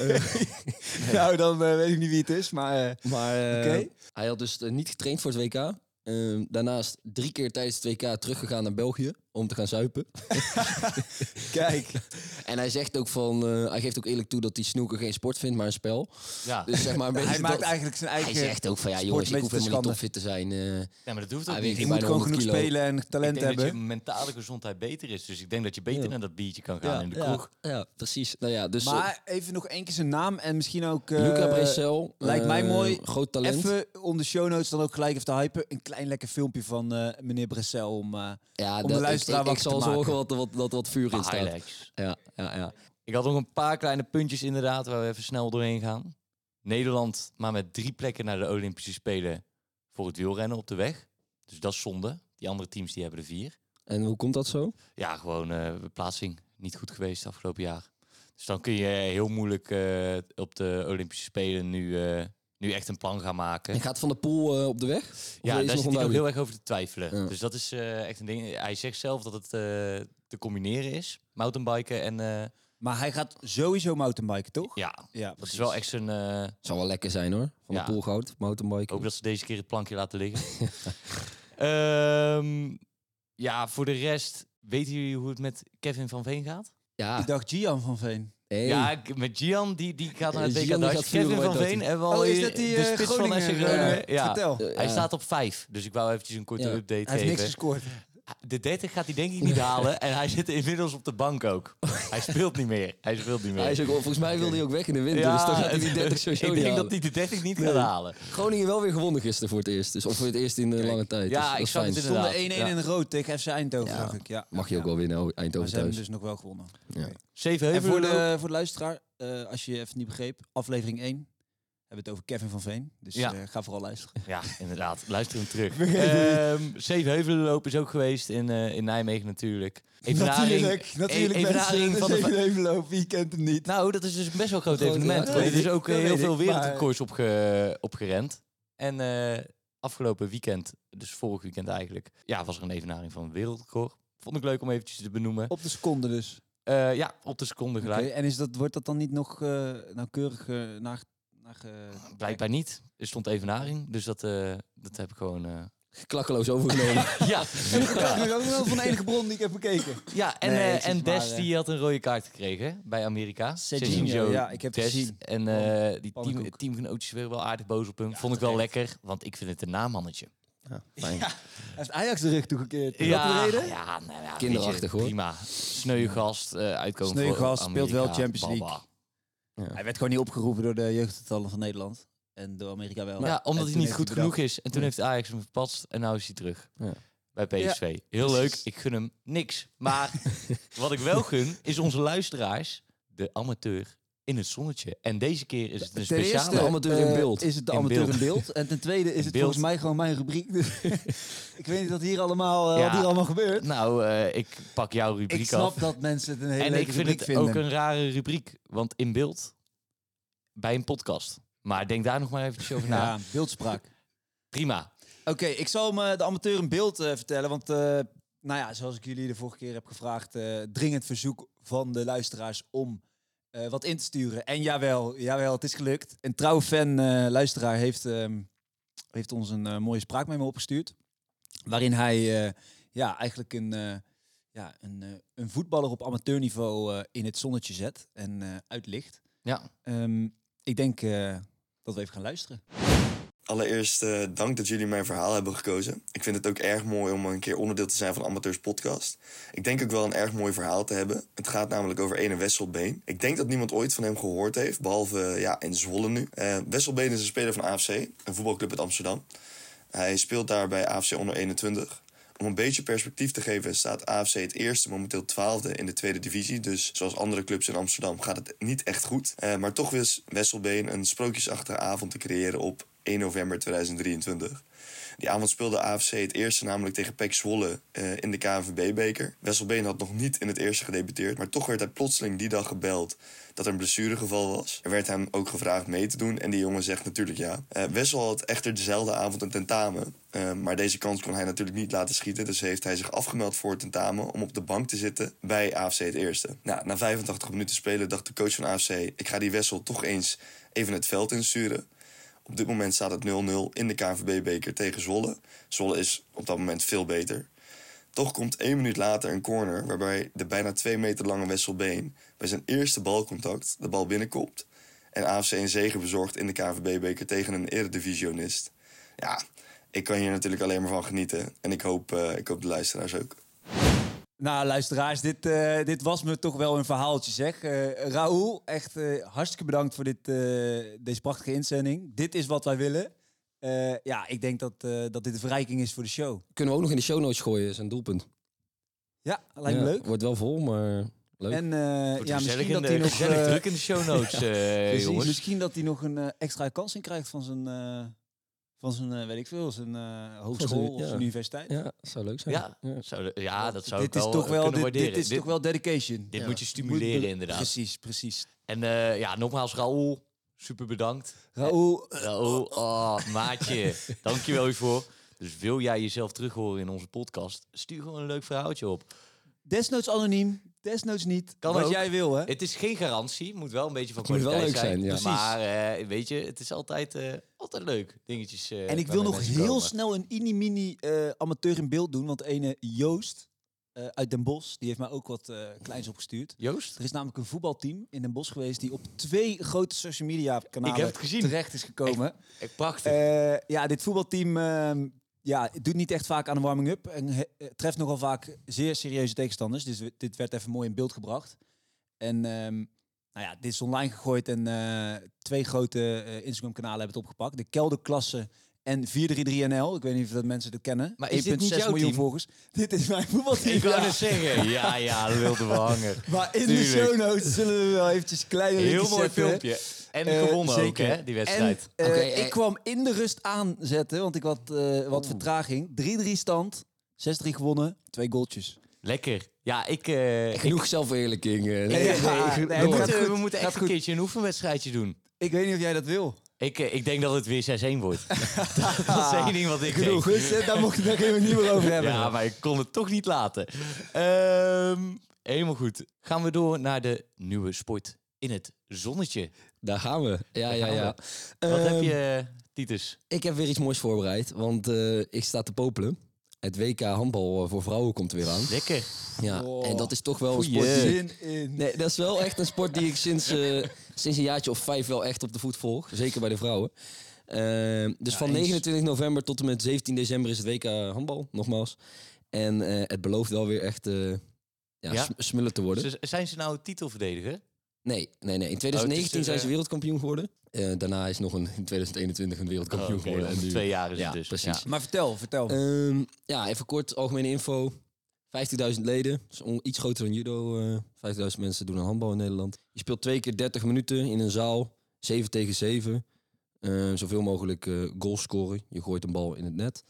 Speaker 1: nou, dan eh, weet ik niet wie het is, maar... eh,
Speaker 3: Maar eh,
Speaker 1: Oké.
Speaker 3: hij had dus eh, niet getraind voor het WK. Ehm, daarnaast drie keer tijdens het WK teruggegaan naar België om te gaan zuipen.
Speaker 1: kijk,
Speaker 3: En hij zegt ook van, eh, hij geeft ook eerlijk toe dat hij snoeken geen sport vindt, maar een spel.
Speaker 2: Ja.
Speaker 3: Dus zeg maar een beetje
Speaker 1: hij maakt
Speaker 3: dat-
Speaker 1: eigenlijk zijn
Speaker 3: hij
Speaker 1: eigen...
Speaker 3: zegt ook van, ja
Speaker 1: sport
Speaker 3: jongens,
Speaker 1: een
Speaker 3: ik hoef
Speaker 1: beetje te
Speaker 3: helemaal niet topfit te zijn. eh.
Speaker 2: ja, maar dat hoeft ook
Speaker 3: Hij
Speaker 2: niet.
Speaker 3: weet
Speaker 1: je
Speaker 2: Ik
Speaker 3: bijna
Speaker 1: moet gewoon
Speaker 3: 100
Speaker 1: genoeg
Speaker 3: kilo.
Speaker 1: spelen en talent
Speaker 2: denk dat je
Speaker 1: hebben.
Speaker 2: mentale gezondheid beter is. Dus ik denk dat je beter
Speaker 3: Ja.
Speaker 2: naar dat biertje kan gaan in de
Speaker 3: ja,
Speaker 2: kroeg.
Speaker 3: Ja, precies. Nou ja, dus eh,
Speaker 1: Maar even nog één keer zijn naam en misschien ook... eh,
Speaker 3: Luca Brecel.
Speaker 1: lijkt mij
Speaker 3: eh,
Speaker 1: mooi.
Speaker 3: Groot talent.
Speaker 1: Even om de show notes dan ook gelijk even te hypen. Een klein lekker filmpje van eh, meneer Bressel om... eh, de
Speaker 3: ja, dat- ik-
Speaker 1: luisteraar
Speaker 3: ik, ik,
Speaker 1: wakker te
Speaker 3: zal zorgen
Speaker 1: maken.
Speaker 3: wat, wat, dat wat vuur in staat.
Speaker 2: Highlights.
Speaker 3: Ja, ja, ja.
Speaker 2: Ik had nog een paar kleine puntjes inderdaad waar we even snel doorheen gaan. Nederland maar met drie plekken naar de Olympische Spelen voor het wielrennen op de weg. Dus dat is zonde. Die andere teams die hebben er vier.
Speaker 3: En hoe komt dat zo?
Speaker 2: Ja, gewoon eh plaatsing niet goed geweest afgelopen jaar. Dus dan kun je heel moeilijk eh, op de Olympische Spelen nu, eh, nu echt een plan gaan maken.
Speaker 3: En gaat Van der Poel eh, op de weg? Of
Speaker 2: Ja, daar
Speaker 3: is nog
Speaker 2: zit hij ook
Speaker 3: onduidelijk?
Speaker 2: heel erg over te twijfelen.
Speaker 3: Ja.
Speaker 2: Dus dat is eh, echt een ding. Hij zegt zelf dat het eh, te combineren is. Mountainbiken en... eh,
Speaker 1: Maar hij gaat sowieso mountainbiken, toch?
Speaker 2: ja,
Speaker 1: Ja,
Speaker 2: dat is wel echt zijn... eh,
Speaker 3: Zou wel lekker zijn hoor. Van
Speaker 2: Ja. Oh.
Speaker 3: de Poel goud, mountainbiken.
Speaker 2: Ook dat ze deze keer het plankje laten liggen. Ehm, ja, voor de rest, weten jullie hoe het met Kevin van Veen gaat?
Speaker 3: Ja,
Speaker 1: Ik dacht Gian van Veen.
Speaker 3: hey. Eh,
Speaker 2: Ja, ik- met Gian, die, die gaat naar het
Speaker 3: Gian
Speaker 2: WK
Speaker 3: die
Speaker 2: Dutch.
Speaker 3: gaat vuren,
Speaker 2: Kevin
Speaker 3: hoor,
Speaker 2: van
Speaker 3: Oh, dat
Speaker 2: Veen,
Speaker 3: hij-
Speaker 2: hebben we al hier- de
Speaker 1: eh,
Speaker 2: spits van SC Groningen.
Speaker 1: eh,
Speaker 2: ja.
Speaker 1: Vertel.
Speaker 3: Eh,
Speaker 2: Hij
Speaker 3: ja.
Speaker 2: staat op vijf, dus ik wou eventjes een korte
Speaker 3: Ja.
Speaker 2: update
Speaker 1: Hij heeft niks
Speaker 2: geven.
Speaker 1: gescoord.
Speaker 2: De 30 gaat hij denk ik niet halen en hij zit inmiddels op de bank ook. Hij speelt niet meer. Hij speelt niet meer.
Speaker 3: Hij is ook, volgens mij wilde hij ook weg in de winter.
Speaker 2: Ja,
Speaker 3: dus dan gaat hij die 30
Speaker 2: ik
Speaker 3: sowieso
Speaker 2: denk
Speaker 3: niet
Speaker 2: dat
Speaker 3: halen.
Speaker 2: hij de 30 niet gaat halen.
Speaker 3: Groningen wel weer gewonnen gisteren voor het eerst. Dus, of voor het eerst in eh, lange tijd.
Speaker 2: Ja,
Speaker 3: Dus dat
Speaker 2: ik
Speaker 3: is
Speaker 2: zag
Speaker 3: fijn.
Speaker 2: het
Speaker 1: Er stonden 1-1
Speaker 2: Inderdaad, ja.
Speaker 1: in rood tegen FC Eindhoven,
Speaker 3: Ja.
Speaker 1: zag ik. Ja.
Speaker 3: Mag je ook
Speaker 1: Ja.
Speaker 3: wel winnen, oh,
Speaker 1: Maar
Speaker 3: Eindhoven
Speaker 1: ze hebben
Speaker 3: thuis.
Speaker 1: dus nog wel gewonnen.
Speaker 3: Ja.
Speaker 1: En
Speaker 2: Zevenheuvel
Speaker 1: voor de, voor de luisteraar, eh, als je even niet begreep, aflevering 1 hebben we het over Kevin van Veen. Dus
Speaker 2: Ja.
Speaker 1: eh, ga vooral luisteren.
Speaker 2: Ja, inderdaad. Luister hem terug. Ehm Zevenheuvelenloop is ook geweest in, eh, in Nijmegen natuurlijk. Evenaring- e- evenaring van de...
Speaker 1: Evenloop, wie kent hem niet?
Speaker 2: Nou, dat is dus best wel een groot
Speaker 3: Groot,
Speaker 2: evenement. hoor.
Speaker 3: ja,
Speaker 1: dat
Speaker 2: Er is
Speaker 1: weet
Speaker 2: ook
Speaker 1: ik,
Speaker 2: eh,
Speaker 1: dat
Speaker 2: heel
Speaker 1: weet
Speaker 2: veel
Speaker 1: ik, maar-
Speaker 2: wereldrecords op, ge- op gerend. En eh, afgelopen weekend, dus vorig weekend eigenlijk, ja, was er een evenaring van een wereldrecord. Vond ik leuk om eventjes te benoemen.
Speaker 1: Op de seconde dus.
Speaker 2: Eh, ja, op de seconde
Speaker 1: Oké,
Speaker 2: gelijk.
Speaker 1: en is dat, wordt dat dan niet nog eh, nauwkeurig eh, naar... naar eh,
Speaker 2: Blijkbaar niet. Er stond evenaring, dus dat, eh, dat heb ik gewoon... eh,
Speaker 3: Klakkeloos overgenomen.
Speaker 2: ja.
Speaker 1: Ja. Dat is ook wel van de enige bron die ik heb bekeken.
Speaker 2: ja, en,
Speaker 1: Nee,
Speaker 2: eh,
Speaker 1: het is
Speaker 2: en
Speaker 1: maar,
Speaker 2: Des
Speaker 1: eh,
Speaker 2: die had een rode kaart gekregen bij Amerika.
Speaker 1: Serginho,
Speaker 2: Serginho
Speaker 1: ja, ik heb het
Speaker 2: Des.
Speaker 1: gezien.
Speaker 2: En eh, die team,
Speaker 1: pannenkoek.
Speaker 2: teamgenootjes werden wel aardig boos op hem. Vond ik wel lekker, want ik vind het een namannetje.
Speaker 3: Ja, fijn.
Speaker 1: Hij heeft Ajax de rug toegekeerd. Is dat
Speaker 2: ja,
Speaker 1: de reden?
Speaker 2: Ja, nou ja, weet
Speaker 3: Kinderachtig,
Speaker 2: je,
Speaker 3: hoor.
Speaker 2: Prima. Sneu gast, eh, uitkomen
Speaker 1: Sneu
Speaker 2: voor
Speaker 1: gast, speelt wel
Speaker 2: Amerika,
Speaker 1: Champions League.
Speaker 2: baba.
Speaker 1: Hij werd gewoon niet opgeroepen door de jeugdtallen van Nederland. En door Amerika wel.
Speaker 2: ja, omdat hij niet goed genoeg
Speaker 1: is.
Speaker 2: is. En toen heeft Ajax hem verpatst en nu is hij terug.
Speaker 3: Ja.
Speaker 2: Bij PSV. Heel leuk. Ik gun hem niks. Maar wat ik wel gun, is onze luisteraars, de amateur in het zonnetje. En deze keer is het een
Speaker 1: Ten
Speaker 2: speciale...
Speaker 1: eerste,
Speaker 3: amateur in
Speaker 1: eh,
Speaker 3: beeld.
Speaker 1: Is het de
Speaker 2: In
Speaker 1: amateur
Speaker 2: beeld.
Speaker 1: in beeld? En ten tweede is
Speaker 2: In
Speaker 1: het
Speaker 2: beeld.
Speaker 1: volgens mij gewoon mijn rubriek. Dus ik weet niet wat hier allemaal, eh, wat
Speaker 2: Ja.
Speaker 1: hier allemaal gebeurt.
Speaker 2: Nou, eh, ik pak jouw rubriek
Speaker 1: Ik snap
Speaker 2: af.
Speaker 1: dat mensen het een hele
Speaker 2: en
Speaker 1: leuke
Speaker 2: ik vind
Speaker 1: rubriek
Speaker 2: het
Speaker 1: vinden.
Speaker 2: ook een rare rubriek. Want in beeld, bij een podcast. Maar denk daar nog maar eventjes over na.
Speaker 1: ja, beeldspraak.
Speaker 2: Prima.
Speaker 1: Oké, ik zal me de amateur in beeld eh, vertellen. Want, eh, nou ja, zoals ik jullie de vorige keer heb gevraagd, eh, dringend verzoek van de luisteraars om eh, wat in te sturen. En jawel, jawel, het is gelukt. Een trouwe fan, eh, luisteraar, heeft, ehm, heeft ons een eh, mooie spraakmemo opgestuurd. Waarin hij eh, ja, eigenlijk een, eh, ja, een, eh, een voetballer op amateurniveau eh, in het zonnetje zet en eh, uitlicht.
Speaker 2: Ja.
Speaker 1: Ehm, ik denk eh, dat we even gaan luisteren.
Speaker 4: Allereerst eh, dank dat jullie mijn verhaal hebben gekozen. Ik vind het ook erg mooi om een keer onderdeel te zijn van Amateurs Podcast. Ik denk ook wel een erg mooi verhaal te hebben. Het gaat namelijk over ene Wesselbeen. Ik denk dat niemand ooit van hem gehoord heeft, behalve eh, ja, in Zwolle nu. Eh, Wesselbeen is een speler van AFC, een voetbalclub uit Amsterdam. Hij speelt daar bij AFC onder 21. Om een beetje perspectief te geven staat AFC het eerste, momenteel twaalfde in de tweede divisie. Dus zoals andere clubs in Amsterdam gaat het niet echt goed. Eh, maar toch wist Wesselbeen een sprookjesachtige avond te creëren op 1 november 2023. Die avond speelde AFC het eerste namelijk tegen PEC Zwolle eh, in de KNVB-beker. Wesselbeen had nog niet in het eerste gedebuteerd, maar toch werd hij plotseling die dag gebeld dat er een blessuregeval was. Er werd hem ook gevraagd mee te doen en die jongen zegt natuurlijk ja. Eh, Wessel had echter dezelfde avond een tentamen, eh, maar deze kans kon hij natuurlijk niet laten schieten, dus heeft hij zich afgemeld voor het tentamen om op de bank te zitten bij AFC het eerste. Nou, na 85 minuten spelen dacht de coach van AFC, ik ga die Wessel toch eens even het veld insturen. Op dit moment staat het 0-0 in de KNVB-beker tegen Zwolle. Zwolle is op dat moment veel beter. Toch komt één minuut later een corner waarbij de bijna twee meter lange Wesselbeen bij zijn eerste balcontact de bal binnenkopt. En AFC een zege bezorgt in de KNVB-beker tegen een eredivisionist. Ja, ik kan hier natuurlijk alleen maar van genieten. En ik hoop, eh, ik hoop de luisteraars ook.
Speaker 1: Nou, luisteraars, dit, eh, dit was me toch wel een verhaaltje, zeg. Eh Raoul, echt eh, hartstikke bedankt voor dit, eh, deze prachtige inzending. Dit is wat wij willen. Eh, ja, ik denk dat, eh, dat dit een verrijking is voor de show.
Speaker 3: Kunnen we ook nog in de show notes gooien, is een doelpunt.
Speaker 1: Ja, lijkt me
Speaker 3: Ja,
Speaker 1: leuk.
Speaker 3: Wordt wel vol, maar leuk.
Speaker 1: En eh,
Speaker 2: Wordt
Speaker 1: ja,
Speaker 2: gezellig
Speaker 1: misschien
Speaker 2: in
Speaker 1: dat
Speaker 2: de-
Speaker 1: hij nog,
Speaker 2: gezellig
Speaker 1: eh,
Speaker 2: druk in de show notes, eh,
Speaker 1: precies,
Speaker 2: jongens.
Speaker 1: misschien dat hij nog een eh, extra kans in krijgt van zijn, eh, van zijn eh, weet ik veel, zijn eh, hogeschool of
Speaker 3: ja.
Speaker 1: zijn universiteit.
Speaker 3: Ja, zou leuk zijn.
Speaker 2: Ja, zou, ja, dat zou
Speaker 1: dit
Speaker 2: ik
Speaker 1: is
Speaker 2: wel
Speaker 1: toch
Speaker 2: eh,
Speaker 1: wel,
Speaker 2: kunnen
Speaker 1: dit,
Speaker 2: waarderen.
Speaker 1: dit is toch wel dedication.
Speaker 2: dit
Speaker 1: Ja.
Speaker 2: moet je
Speaker 1: Dit moet
Speaker 2: stimuleren,
Speaker 1: be-
Speaker 2: inderdaad.
Speaker 1: Precies, precies.
Speaker 2: En eh, ja, nogmaals, Raoul, super bedankt.
Speaker 1: Raoul,
Speaker 2: Raoul, oh, maatje, dankjewel hiervoor. Dus wil jij jezelf terug horen in onze podcast, stuur gewoon een leuk verhaaltje op.
Speaker 1: Desnoods anoniem, desnoods niet.
Speaker 2: Kan
Speaker 1: wat
Speaker 2: ook.
Speaker 1: jij wil, hè?
Speaker 2: Het is geen garantie, moet wel een beetje van
Speaker 3: Het moet wel
Speaker 2: kwaliteit
Speaker 3: leuk zijn, ja.
Speaker 1: Precies.
Speaker 2: Maar eh, weet je, het is altijd, eh, altijd leuk, dingetjes. eh,
Speaker 1: en ik wil
Speaker 2: waarmee
Speaker 1: nog
Speaker 2: mensen
Speaker 1: heel
Speaker 2: komen.
Speaker 1: snel een inimini eh amateur in beeld doen. Want ene Joost eh, uit Den Bosch, die heeft mij ook wat eh, kleins opgestuurd.
Speaker 2: Joost?
Speaker 1: Er is namelijk een voetbalteam in Den Bosch geweest die op twee grote social media kanalen
Speaker 2: Ik heb het gezien.
Speaker 1: terecht is gekomen.
Speaker 2: Eh, Prachtig.
Speaker 1: Eh, ja, dit voetbalteam ehm, ja, het doet niet echt vaak aan de warming-up. En he- eh, treft nogal vaak zeer serieuze tegenstanders. Dus we- dit werd even mooi in beeld gebracht. En ehm, nou ja, dit is online gegooid en eh, twee grote eh, Instagram-kanalen hebben het opgepakt. De Kelderklasse en 433NL. Ik weet niet of dat mensen dat kennen.
Speaker 2: Maar is dit niet
Speaker 1: 1,6
Speaker 2: jouw
Speaker 1: miljoen
Speaker 2: team?
Speaker 1: volgers. Dit is mijn voetbalteam.
Speaker 2: ik wou
Speaker 1: ja.
Speaker 2: net zeggen, ja, ja, wilde verhanger.
Speaker 1: Maar in de
Speaker 2: Tuurlijk.
Speaker 1: show notes zullen we wel eventjes een kleine
Speaker 2: Heel
Speaker 1: linkjes
Speaker 2: mooi
Speaker 1: zetten.
Speaker 2: filmpje. En
Speaker 1: Eh,
Speaker 2: gewonnen ook,
Speaker 1: zeker.
Speaker 2: hè, die wedstrijd.
Speaker 1: En, eh,
Speaker 3: Oké, eh.
Speaker 1: ik kwam in de rust aanzetten, want ik had eh, wat vertraging. 3-3 stand, 6-3 gewonnen, twee goaltjes.
Speaker 2: Lekker. Ja, ik... eh, ik-
Speaker 3: Genoeg zelfverheerlijking. eh.
Speaker 1: Ja,
Speaker 3: Nee, nee,
Speaker 1: nee,
Speaker 3: nee,
Speaker 1: maar-
Speaker 2: we,
Speaker 3: door.
Speaker 1: gaat
Speaker 2: moeten, we
Speaker 1: goed,
Speaker 2: moeten
Speaker 1: gaat
Speaker 2: echt een
Speaker 1: goed.
Speaker 2: keertje een oefenwedstrijdje doen.
Speaker 1: Ik weet niet of jij dat wil.
Speaker 2: Ik, eh, ik denk dat het weer 6-1 wordt. dat is één ding wat ik
Speaker 1: Genoeg,
Speaker 2: denk.
Speaker 1: goed, daar, mocht, daar kunnen we het niet meer over hebben.
Speaker 2: Ja, maar ik kon het toch niet laten. Ehm, helemaal goed. Gaan we door naar de nieuwe sport in het zonnetje.
Speaker 3: Daar gaan we. Ja, ja,
Speaker 2: gaan
Speaker 3: ja.
Speaker 2: Wat
Speaker 3: Ehm,
Speaker 2: heb je, Titus?
Speaker 3: Ik heb weer iets moois voorbereid, want eh, ik sta te popelen. Het WK handbal eh, voor vrouwen komt er weer aan.
Speaker 2: Lekker.
Speaker 3: Ja,
Speaker 1: Oh.
Speaker 3: en dat is toch wel een
Speaker 1: Goeie
Speaker 3: sport die ik-
Speaker 1: zin in.
Speaker 3: Nee, dat is wel echt een sport die ik sinds, eh, sinds een jaartje of vijf wel echt op de voet volg. Zeker bij de vrouwen. Ehm, dus van
Speaker 1: eens.
Speaker 3: 29 november tot en met 17 december is het WK handbal, nogmaals. En eh, het belooft wel weer echt eh, ja,
Speaker 2: Ja?
Speaker 3: sm- smullen te worden.
Speaker 2: Ze- zijn ze nou titelverdediger?
Speaker 3: Oh, Nee, nee, nee.
Speaker 2: Oh,
Speaker 3: In
Speaker 2: het is
Speaker 3: 2019
Speaker 2: er,
Speaker 3: zijn ze
Speaker 2: eh,
Speaker 3: wereldkampioen geworden. Eh, daarna is nog een, in 2021 een wereldkampioen
Speaker 2: Oh, oké,
Speaker 3: geworden.
Speaker 2: over
Speaker 3: En nu-
Speaker 2: twee jaar is
Speaker 3: Ja,
Speaker 2: het dus.
Speaker 3: precies.
Speaker 1: Maar vertel, vertel.
Speaker 3: Ehm, ja, even kort algemene info. 15.000 leden, dus on- iets groter dan judo. eh 5000 mensen doen aan handbal in Nederland. Je speelt twee keer 30 minuten in een zaal, 7 tegen 7. Eh, zoveel mogelijk eh goals scoren. Je gooit een bal in het net.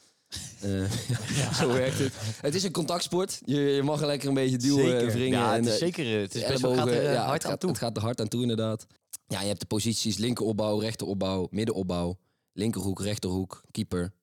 Speaker 3: Eh, ja, zo werkt het. Het is een contactsport. Je, je mag er lekker een beetje duwen
Speaker 1: Zeker.
Speaker 3: en wringen.
Speaker 2: Ja,
Speaker 3: en,
Speaker 2: het is
Speaker 3: eh,
Speaker 2: zeker. eh, Het is best wel
Speaker 3: ellebogen,
Speaker 2: gaat er, eh,
Speaker 3: ja,
Speaker 2: hard
Speaker 3: het
Speaker 2: aan
Speaker 3: gaat-
Speaker 2: toe.
Speaker 3: Het gaat er hard aan toe, inderdaad. Ja, je hebt de posities linkeropbouw, rechteropbouw, middenopbouw, linkerhoek, rechterhoek, keeper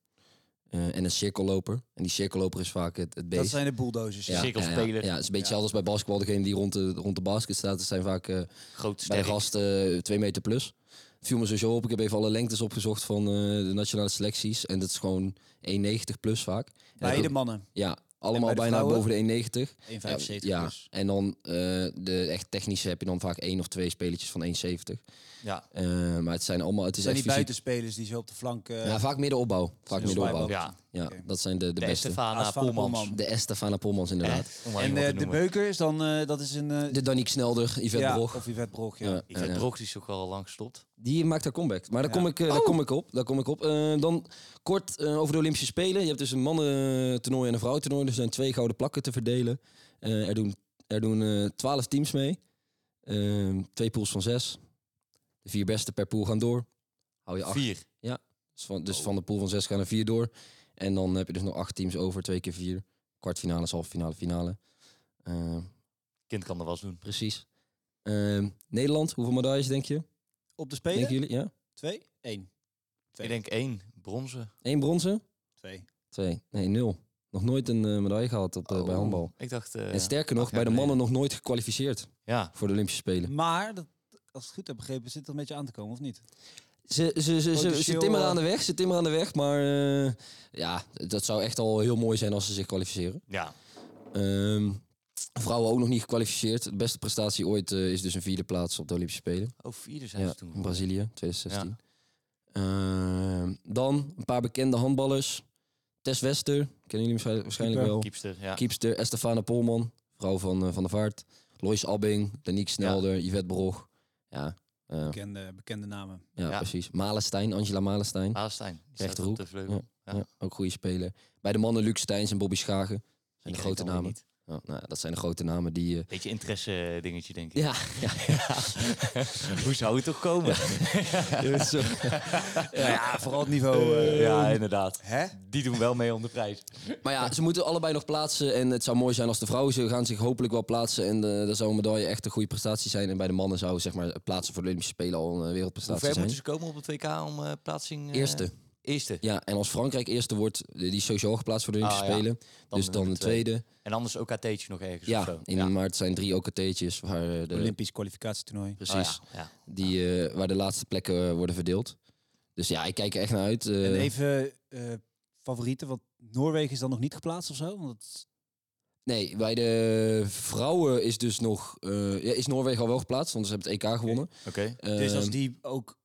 Speaker 3: eh, en een cirkelloper. En die cirkelloper is vaak het, het
Speaker 1: dat
Speaker 3: beest.
Speaker 1: zijn de bulldozers.
Speaker 3: Ja,
Speaker 2: cirkelspeler.
Speaker 3: Ja, ja, het is een beetje hetzelfde als bij basketbal. Degene die rond de, rond de basket staat, dat zijn vaak eh,
Speaker 2: Groot
Speaker 3: bij de
Speaker 2: sterk.
Speaker 3: gasten eh, twee meter plus. Het viel me sowieso op. Ik heb even alle lengtes opgezocht van eh, de nationale selecties. En dat is gewoon 1,90 plus vaak. En dat
Speaker 1: Beide
Speaker 3: ook-
Speaker 1: mannen.
Speaker 3: Ja, allemaal
Speaker 1: bij de
Speaker 3: bijna
Speaker 1: vrouwen?
Speaker 3: boven de 1,90.
Speaker 1: 1,75 plus.
Speaker 3: Ja, en dan eh, de echt technische heb je dan vaak één of twee spelertjes van 1,70.
Speaker 1: Ja.
Speaker 3: Eh, maar het zijn allemaal, het is
Speaker 1: zijn
Speaker 3: echt
Speaker 1: die
Speaker 3: fysiek.
Speaker 1: buitenspelers die zo op de flank... eh,
Speaker 3: Ja, vaak middenopbouw.
Speaker 1: Snel
Speaker 3: Vaak middenopbouw.
Speaker 1: spijbal.
Speaker 3: Ja,
Speaker 2: Ja,
Speaker 1: Oké.
Speaker 3: dat zijn de, de,
Speaker 2: de
Speaker 3: beste.
Speaker 2: Estefana
Speaker 1: Estefana
Speaker 2: Poelmans.
Speaker 1: Poelman.
Speaker 3: De Estefana Polmans inderdaad.
Speaker 2: Echt, om maar
Speaker 1: en
Speaker 2: iemand
Speaker 1: eh,
Speaker 2: te
Speaker 1: de
Speaker 2: noemen.
Speaker 1: beukers, dan, eh, dat is een... eh,
Speaker 3: De Danique Snelder, Yvette
Speaker 1: ja,
Speaker 3: Brog.
Speaker 1: Of Yvette Brog, ja.
Speaker 3: Ja,
Speaker 2: Ik vind
Speaker 3: ja.
Speaker 2: Droog die is ook al lang gestopt.
Speaker 3: Die maakt haar comeback. Maar daar, kom, ik, eh, daar kom ik op. Daar kom ik op. Eh, dan kort eh, over de Olympische Spelen. Je hebt dus een mannentoernooi en een vrouwentoernooi. Dus Er zijn twee gouden plakken te verdelen. Eh, er doen, er doen eh, twaalf teams mee. Ehm, twee pools van zes. De vier beste per pool gaan door. Hou je acht.
Speaker 2: Vier.
Speaker 3: Dus, van, dus van de pool van zes gaan er vier door. En dan heb je dus nog acht teams over. Twee keer vier. Kwartfinales, halve finale, finale. Ehm,
Speaker 2: Kind kan er was doen.
Speaker 3: precies. Ehm, Nederland, hoeveel medailles denk je?
Speaker 1: Op de
Speaker 3: Denken
Speaker 1: spelen?
Speaker 3: jullie? Ja?
Speaker 1: Twee? Eén. Twee.
Speaker 2: Ik denk één. Bronzen.
Speaker 3: Eén bronzen?
Speaker 1: Twee.
Speaker 3: Twee. Nee, nul. Nog nooit een eh, medaille gehad op, eh, bij
Speaker 2: Oh.
Speaker 3: handbal.
Speaker 2: Ik dacht... eh,
Speaker 3: en sterker nog,
Speaker 2: acht jaar
Speaker 3: bij de mannen
Speaker 2: geleden.
Speaker 3: nog nooit gekwalificeerd
Speaker 2: Ja.
Speaker 3: voor de Olympische Spelen.
Speaker 1: Maar, dat, als ik het goed heb begrepen, zit dat een beetje aan te komen, of niet?
Speaker 3: Ze, ze, ze, ze, ze
Speaker 1: Potentieel,
Speaker 3: timmeren
Speaker 1: eh,
Speaker 3: aan de weg, ze timmeren aan de weg. Maar eh, ja, dat zou echt al heel mooi zijn als ze zich kwalificeren.
Speaker 2: Ja.
Speaker 3: Ehm, vrouwen ook nog niet gekwalificeerd. De beste prestatie ooit eh, is dus een vierde plaats op de Olympische Spelen.
Speaker 2: Oh, vierde zijn
Speaker 3: Ja,
Speaker 2: ze
Speaker 3: in
Speaker 2: toen.
Speaker 3: Brazilië, 2016. Ehm, dan een paar bekende handballers. Tess Wester, kennen jullie waarschijn- waarschijnlijk wel.
Speaker 2: Kiepster, ja.
Speaker 3: Kiepster, Estefana Polman, vrouw van eh, Van der Vaart. Lois Abbing, Danique Snelder, Yvette Brog. Ja, eh,
Speaker 1: Bekende, bekende namen.
Speaker 3: ja,
Speaker 2: Ja.
Speaker 3: precies. Malenstein, Angela Malenstein.
Speaker 2: Haalstein. Die staat
Speaker 3: Rechterhoek.
Speaker 2: op de vleugel.
Speaker 3: Ja. ook goede speler. Bij de mannen Luc Steins en Bobby Schagen.
Speaker 2: Die
Speaker 3: Zijn
Speaker 2: ken
Speaker 3: de grote
Speaker 2: ik dan weer
Speaker 3: namen.
Speaker 2: niet.
Speaker 3: Ja, nou, ja, dat zijn de grote namen die... eh,
Speaker 2: Beetje interesse eh, dingetje, denk ik.
Speaker 3: ja, ja,
Speaker 2: Hoe zou het toch komen?
Speaker 3: dus, eh, nou
Speaker 1: Ja, vooral het
Speaker 3: Oh,
Speaker 1: niveau. eh,
Speaker 2: ja, inderdaad.
Speaker 1: hè?
Speaker 2: Die doen wel mee om de prijs.
Speaker 3: Maar ja, ze moeten allebei nog plaatsen. En het zou mooi zijn als de vrouwen ze gaan zich hopelijk wel plaatsen. En eh dat zou een medaille echt een goede prestatie zijn. En bij de mannen zou zeg maar, het plaatsen voor de Olympische Spelen al een eh,
Speaker 2: Hoe
Speaker 3: wereldprestatie
Speaker 2: ver
Speaker 3: zijn.
Speaker 2: moeten ze komen op het WK om eh, plaatsing... eh,
Speaker 3: Eerste.
Speaker 2: Eerste.
Speaker 3: Ja, en als Frankrijk eerste wordt, eh, die is sowieso al geplaatst voor de Olympische
Speaker 2: Ah, ja.
Speaker 3: Spelen.
Speaker 2: Dan
Speaker 3: dus dan
Speaker 2: nummer
Speaker 3: de
Speaker 2: twee.
Speaker 3: tweede.
Speaker 2: En anders ook AT'tje nog ergens of
Speaker 3: Ja,
Speaker 2: zo.
Speaker 3: in maart zijn drie OKT'tjes waar eh, de,
Speaker 1: Olympisch kwalificatietoernooi.
Speaker 3: precies,
Speaker 2: Oh, ja. ja.
Speaker 3: die, eh, waar de laatste plekken eh, worden verdeeld. Dus ja, ik kijk er echt naar uit. eh.
Speaker 1: en even eh, favorieten, want Noorwegen is dan nog niet geplaatst of zo? Want dat is-
Speaker 3: Nee, bij de vrouwen is dus nog eh, ja, is Noorwegen al wel geplaatst, want ze hebben het EK gewonnen.
Speaker 2: Oké.
Speaker 1: dus als
Speaker 3: Ehm,
Speaker 1: die ook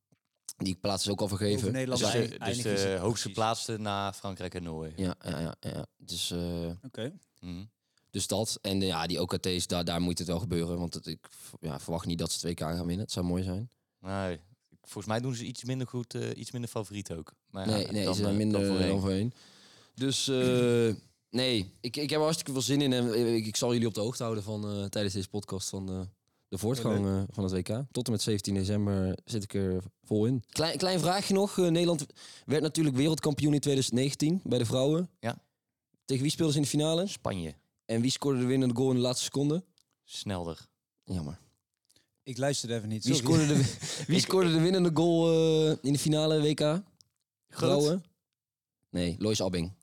Speaker 3: die plaats is ook al
Speaker 1: over
Speaker 3: vergeven.
Speaker 1: Nederland
Speaker 2: Dus,
Speaker 1: zijn,
Speaker 2: de- dus
Speaker 1: eindigen ze-
Speaker 2: de hoogste
Speaker 1: Precies.
Speaker 2: plaatsen na Frankrijk en Noorwegen.
Speaker 3: Ja, ja, ja, ja. Dus, eh,
Speaker 1: Oké.
Speaker 2: Mhm.
Speaker 3: dus dat. En eh, ja, die OKT's, daar, daar moet het wel gebeuren. Want het, ik v- ja, verwacht niet dat ze het WK gaan winnen. Het zou mooi zijn.
Speaker 2: Nee. Volgens mij doen ze iets minder goed, eh, iets minder favoriet ook. Maar ja,
Speaker 3: nee, nee,
Speaker 2: dan,
Speaker 3: ze zijn
Speaker 2: eh,
Speaker 3: minder dan
Speaker 2: voorheen.
Speaker 3: voorheen. Dus eh, nee, ik, ik heb er hartstikke veel zin in. En eh, ik, ik zal jullie op de hoogte houden van, eh, tijdens deze podcast van de, de voortgang eh, van het WK. Tot en met 17 december zit ik er vol in. Klein, klein vraagje nog. Eh, Nederland werd natuurlijk wereldkampioen in 2019 bij de vrouwen.
Speaker 2: Ja.
Speaker 3: Tegen wie speelden ze in de finale?
Speaker 2: Spanje.
Speaker 3: En wie scoorde de winnende goal in de laatste seconde?
Speaker 2: Snelder.
Speaker 3: Jammer.
Speaker 1: Ik luisterde even niet.
Speaker 3: Wie
Speaker 1: sorry.
Speaker 3: scoorde de, wie scoorde de winnende goal eh, in de finale WK? Blauwe? Nee, Lois Abbing.